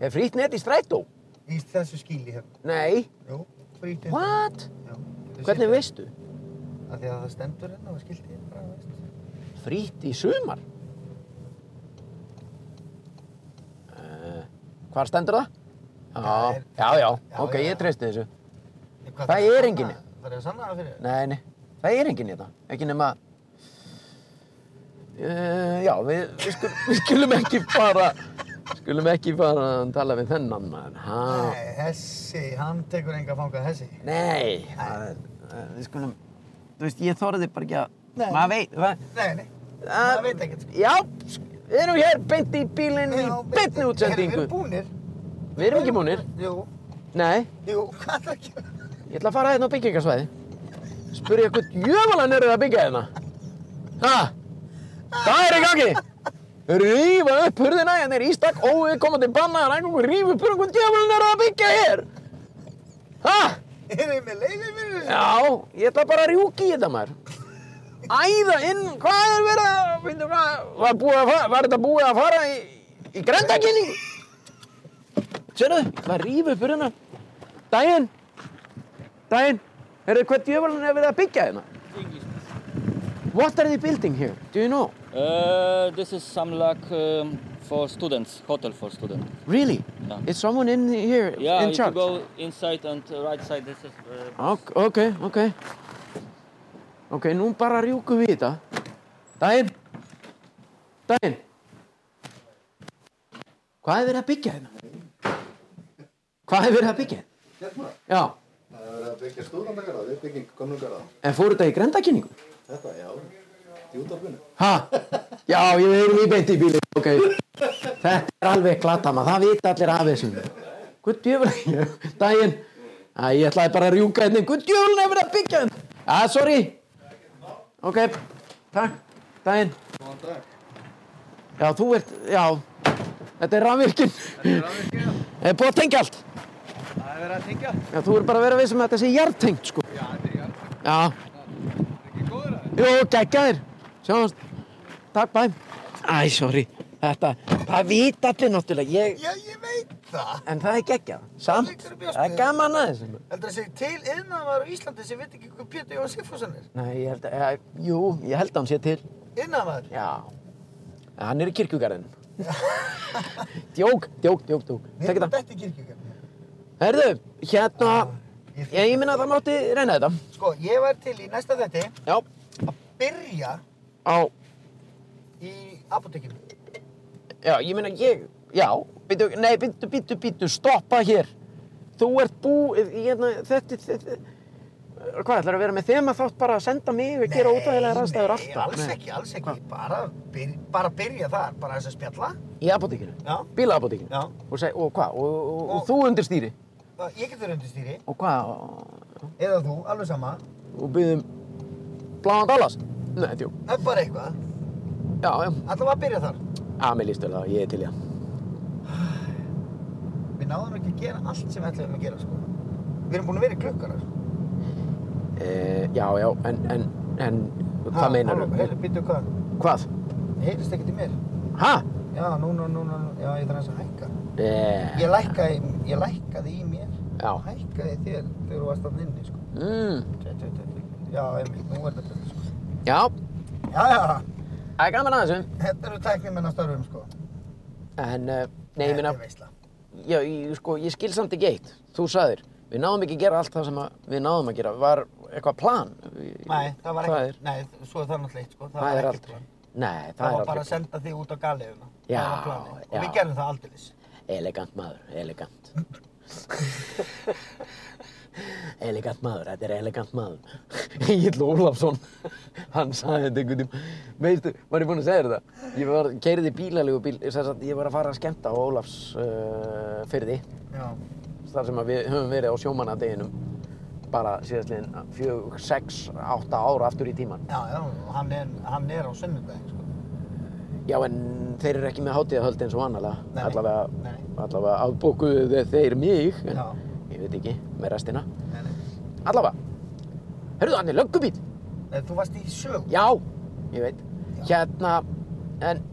Er frýtt nett í strætó? í þessu skíli hérna. Nei. Jú, frýtt nett. What? Já. Hvernig veistu? Af því að það stendur hérna og skildi hérna, bara, veist. Frýtt í sumar? Uh, hvar stendur það? Já, já, já, ok, já, já. ég treysti þessu. Hvað Það þarf að er sanna- enginn. Þarf ég að sanna það fyrir þér? Nei, nei, það er enginn í þetta. Ekki nema... Uh, já, við, við, skul, við skulum [laughs] ekki fara... Skulum ekki fara að tala við þennan maður. Ha? Nei, þessi, hann tekur enga fanga þessi. Nei, það er... það- Við skulum... Þú veist, ég þorði bara ekki að... Nei. Maður veit... Það, Nei, nei, það maður veit ekkert. sko. Já, sk- við erum hér beint í bílinn í Já, beinni Heyrðu, Við útsendingu. erum búnir. Við erum ekki múnir. Jú, Nei, jú, hvað það ekki? ég ætla að fara hérna á byggingarsvæði. Spurja hvort jöfnvalan eru að byggja hérna. Ha? Það er í gangi. Rífa upp hurðina, hérna er ístak, óvið komandi bannaðar ægungum, rífa upp hurðina, hvort jöfnvalan eru að byggja hér. Ha? Erum við með leiðið fyrir þessu? Já, ég ætla bara að rjúki í þetta maður. Æða inn, hvað er verið að, finnum hvað, var, búið að fara, var þetta búið að fara í, í grendaginni? Sérðu, ég ætla að rífa upp hérna. hurðina. Dæin, dæin, heyrðu, hvað djöfalinn er verið að byggja hérna? English. What are they building here? Do you know? Uh, this is some luck um, for students, hotel for students. Really? Yeah. Is someone in here Yeah, if in you charge? go inside and uh, right side, this is. Uh, Ok, ok, ok. Ok, nú bara rjúkum við þetta. Dæin. Dæin. Hvað er verið að byggja hérna? Hvað er verið að byggja? Hérna? Já, Það er verið að byggja stúrandagarða, við byggjum gömlugarða. en fóru þetta í grendakynningu? Þetta, já. Í útarpinu. Ha? Já, ég er í beint í bíli. Ok. Þetta er alveg glata maður, það vita allir af þessum. Guð djöfla, dæin. Æ, ég ætlaði bara að rjúka hérna. Guð djöfla er verið að byggja hérna. Æ, sorry. Ok, takk. Dæin. Góðan dag. Já, þú ert, já, þetta er rafvirkinn. Þetta er rafvirkinn, já. Það er búið að tengja allt. Það er verið að tengja. Já, þú ert bara að vera við sem þetta sé jartengt, sko. Já, þetta er í alveg. Já, Er ekki góður að jú, geggjaðir. Sjáumst. Takk, bæm. Æ, sorry. Þetta, það vita allir náttúrulega. Ég, Já, ég veit það. en það er geggjað. Samt, liggur í bjóst það er með. gaman aðeins. Heldur það sé til iðnaðar á Íslandi sem veit ekki hvað Pétur Jóhann Sigfússon er? Nei, ég eh, held að, ja, jú, ég held að hann sé til. Iðnaðar? Já. En Hann er í kirkjugarðin. [laughs] Djók, djók, djók, djók. Tek þetta. Þetta er kirkjugjörn. Herðu, hérna, ég, ég minna að það mátti reyna þetta. Sko, ég var til í næsta þetti Já. að byrja Á, í apotekinu. já, ég minna ég, já, býtu, nei, býtu, býtu, býtu, stoppa hér. Þú ert bú, hérna, þetta, þetta, hvað, ætlar að vera með þema þátt bara að senda mig og gera ódægilega rannstæður alltaf? Nei, alls ekki, alls ekki. Bara, byr, bara byrja þar, bara þess að spjalla. Í apotekinu? Já. Bílaapotekinu? Já. Og, seg, og hvað, og, og, og, Og- þú undir stýri? Það- Ég getur undir stýri, Og hvað, eða þú, alveg sama. og byggðum bláðan Dallas? Nei, djó. Það er bara eitthvað. Já, já. Alltaf að byrja þar. Að, mér líst vel á, ég er til í það. Við náðum ekki að gera allt sem við ætlum að gera, sko. Við erum búin að vera í klukkar, sko. E, já, já, en, en, en, hvað meinar þú? Heilu, býttu hvað? Hvað? Heyrist ekkert í mér? Ha? Já, núna, núna, núna, já, ég þarf aðeins að hækka. E, Ég lækkaði, ég lækkaði í mér, Já. hækkaði í þér þegar þú varst þarna inni, sko. Mm. Tjá, tjá, tjá, tjá. Já, einmitt, nú er þetta betur, sko. Já. Já, já, Það er gaman að þessu. þetta eru tæknimenn að störfum, sko. En, eh, nei, ég meina, Þetta er veisla. já, ég, sko, ég skil samt ekki eitt. Þú sagðir, við náðum ekki að gera allt það sem að, við náðum að gera. Var eitthvað plan? Nei, það var Það ekki, er, nei, svo er það náttúrulega eitt, sko. það var er ekki aldrei. plan. Nei, það, Það er var bara aldrei. að senda þig út á galiðuna. Já, Það var planið. Og já. við gerðum það aldeilis. Elegant maður, [laughs] elegant. elegant maður, þetta er elegant maður. [laughs] Egil Ólafsson, hann sagði þetta einhvern tíma. Veistu, var ég búinn að segja þér þetta? Ég var, keiriði bílalegu bíl, ég, sagt, ég var að fara að skemmta á Ólafs uh, fyrði, Já. þar sem að við höfum verið á sjómannadeginum bara síðastliðin fjög, sex, átta ára aftur í tíman. Já, já, og hann er, hann er á sunnudaginn, sko. Já, en þeir eru ekki með hátíðahöld eins og annarlega. Nei, allavega, nei. allavega afbókuðu þeir mig, en Já. ég veit ekki, með restina. Nei, nei. Allavega, hörðu hann er löggubíl. Nei, þú varst í sög. Já, ég veit. Hérna, en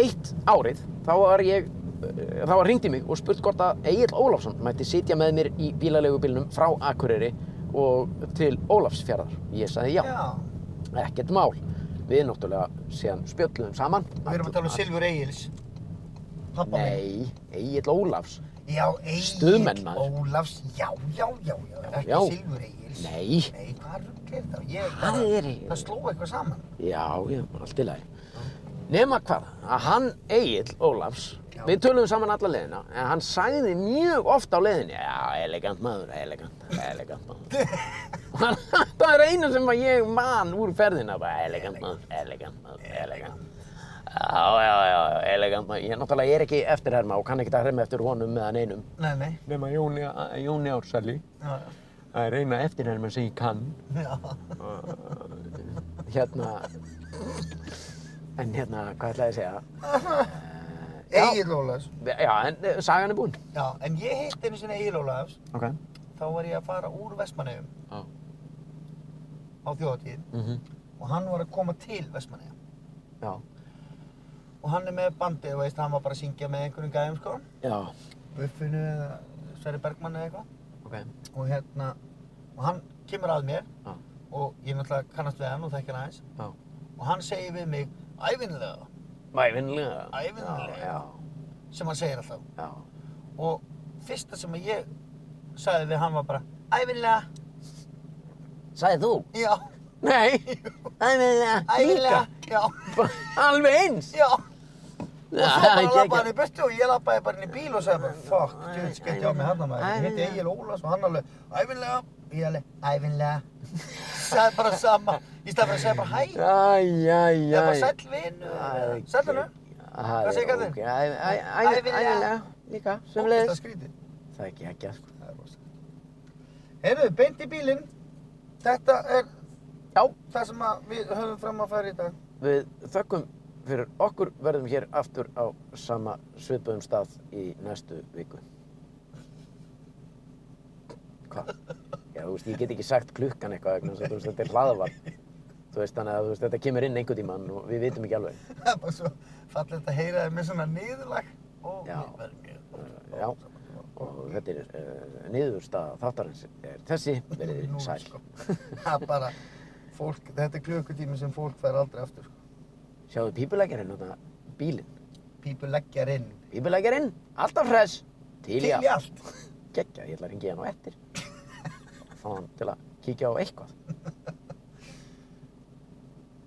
eitt árið, þá var ég, eh, þá var ringdi mig og spurt hvort að Egil Ólafsson mætti sitja með mér í bílaleigubílnum frá Akureyri og til Ólafsfjarðar. Ég sagði já, ekkert mál. Við náttúrulega síðan spjölluðum saman. Við erum að tala um Silfur Egils. Pappa minn. Nei, Egil Ólafs. Já, Egil Stuðmenn, maður. Ólafs, já, já, já, já. Ekki Já. Silfur Egils. Nei. Nei, hvað rugg er það? Ég, Hann bara- er í- Það sló eitthvað saman. Já, já, allt í lagi. Nema hvað, að hann Egil Ólafs, við töluðum saman alla leiðina, en hann sagði mjög oft á leiðinni, já, elegant maður, elegant, elegant maður. Og hann, [laughs] það er einu sem að ég man úr ferðina, bara elegant maður, elegant maður, elegant. Já, já, já, elegant maður. Ég náttúrulega er ekki eftirherma og kann ekki að herma eftir honum með hann einum. Nei, nei. Nema Jóni, Jóni Ársæli, Já, það er eina eftirherma sem ég kann já. hérna en hérna, hvað ætlaði ég að segja Egil Ólafs. já, en eh, sagan er búin Já, en ég hitt einu sinni Egil Ólafs. ok þá var ég að fara úr Vestmannaugum Já. á þjóðatíð og hann var að koma til Vestmannauga já, og hann er með bandið, þú veist, hann var bara að syngja með einhverjum gæjum sko já, Buffinu eða Sverri Bergmann eða eitthvað ok og hérna, og hann kemur að mér Já. og ég náttúrulega kannast við hann og þekki hann aðeins Já. og hann segir við mig ævinlega, mæfinlega ævinlega já, sem hann segir alltaf já, og fyrsta sem ég sagði við hann var bara ævinlega, sagði þú? já, nei, æfinlega ævinlega, já, alveg eins já Og svo bara geggjað. lappaði hann í burtu og ég lappaði bara inn í bíl og sagði bara Fuck, djöð, skeitt ég á mig hérna maður Ég heiti Egil Ólafs og hann alveg Ævinlega Ég alveg, ævinlega Sagði bara sama Í stað fyrir að segja bara hæ Æ, æ, æ. Eða bara sæll vinnu Sæll hennu Hvað segir kallinn? Æfinlega. Æfinlega. Líka, sem Ógeðslega leiðis. skrítið Það er ekki ekki, sko. Það er rosa Heyrðu, beint í bílinn Þetta er Já. Það sem að við höfum fram að fara í dag [laughs] Við þökkum fyrir okkur, verðum hér aftur á sama svipuðum stað í næstu viku. Hvað? Já, þú veist, ég get ekki sagt klukkan eitthvað vegna þess að þú veist, þetta er hlaðvarp. Þú veist, þannig að þú veist, þetta kemur inn einhvern tímann og við vitum ekki alveg. Það er bara svo fallegt að heyra þér með svona niðurlag Og Já. við verðum mjög Eh, Já, og þetta er uh, niðurstaða þáttarins er þessi, verið Nú, þið sæl. sko. [laughs] Það er bara, fólk, þetta er klukkutími sem fólk fær aldrei aftur. sko. Sjáðu pípulækjarinn, þarna, bílinn. Pípuleggjarinn. Pípuleggjarinn, alltaf hress. Til í Til í [laughs] allt. Gekkja, ég ætla að ringja hann á eftir. Fá hann til að kíkja á eitthvað.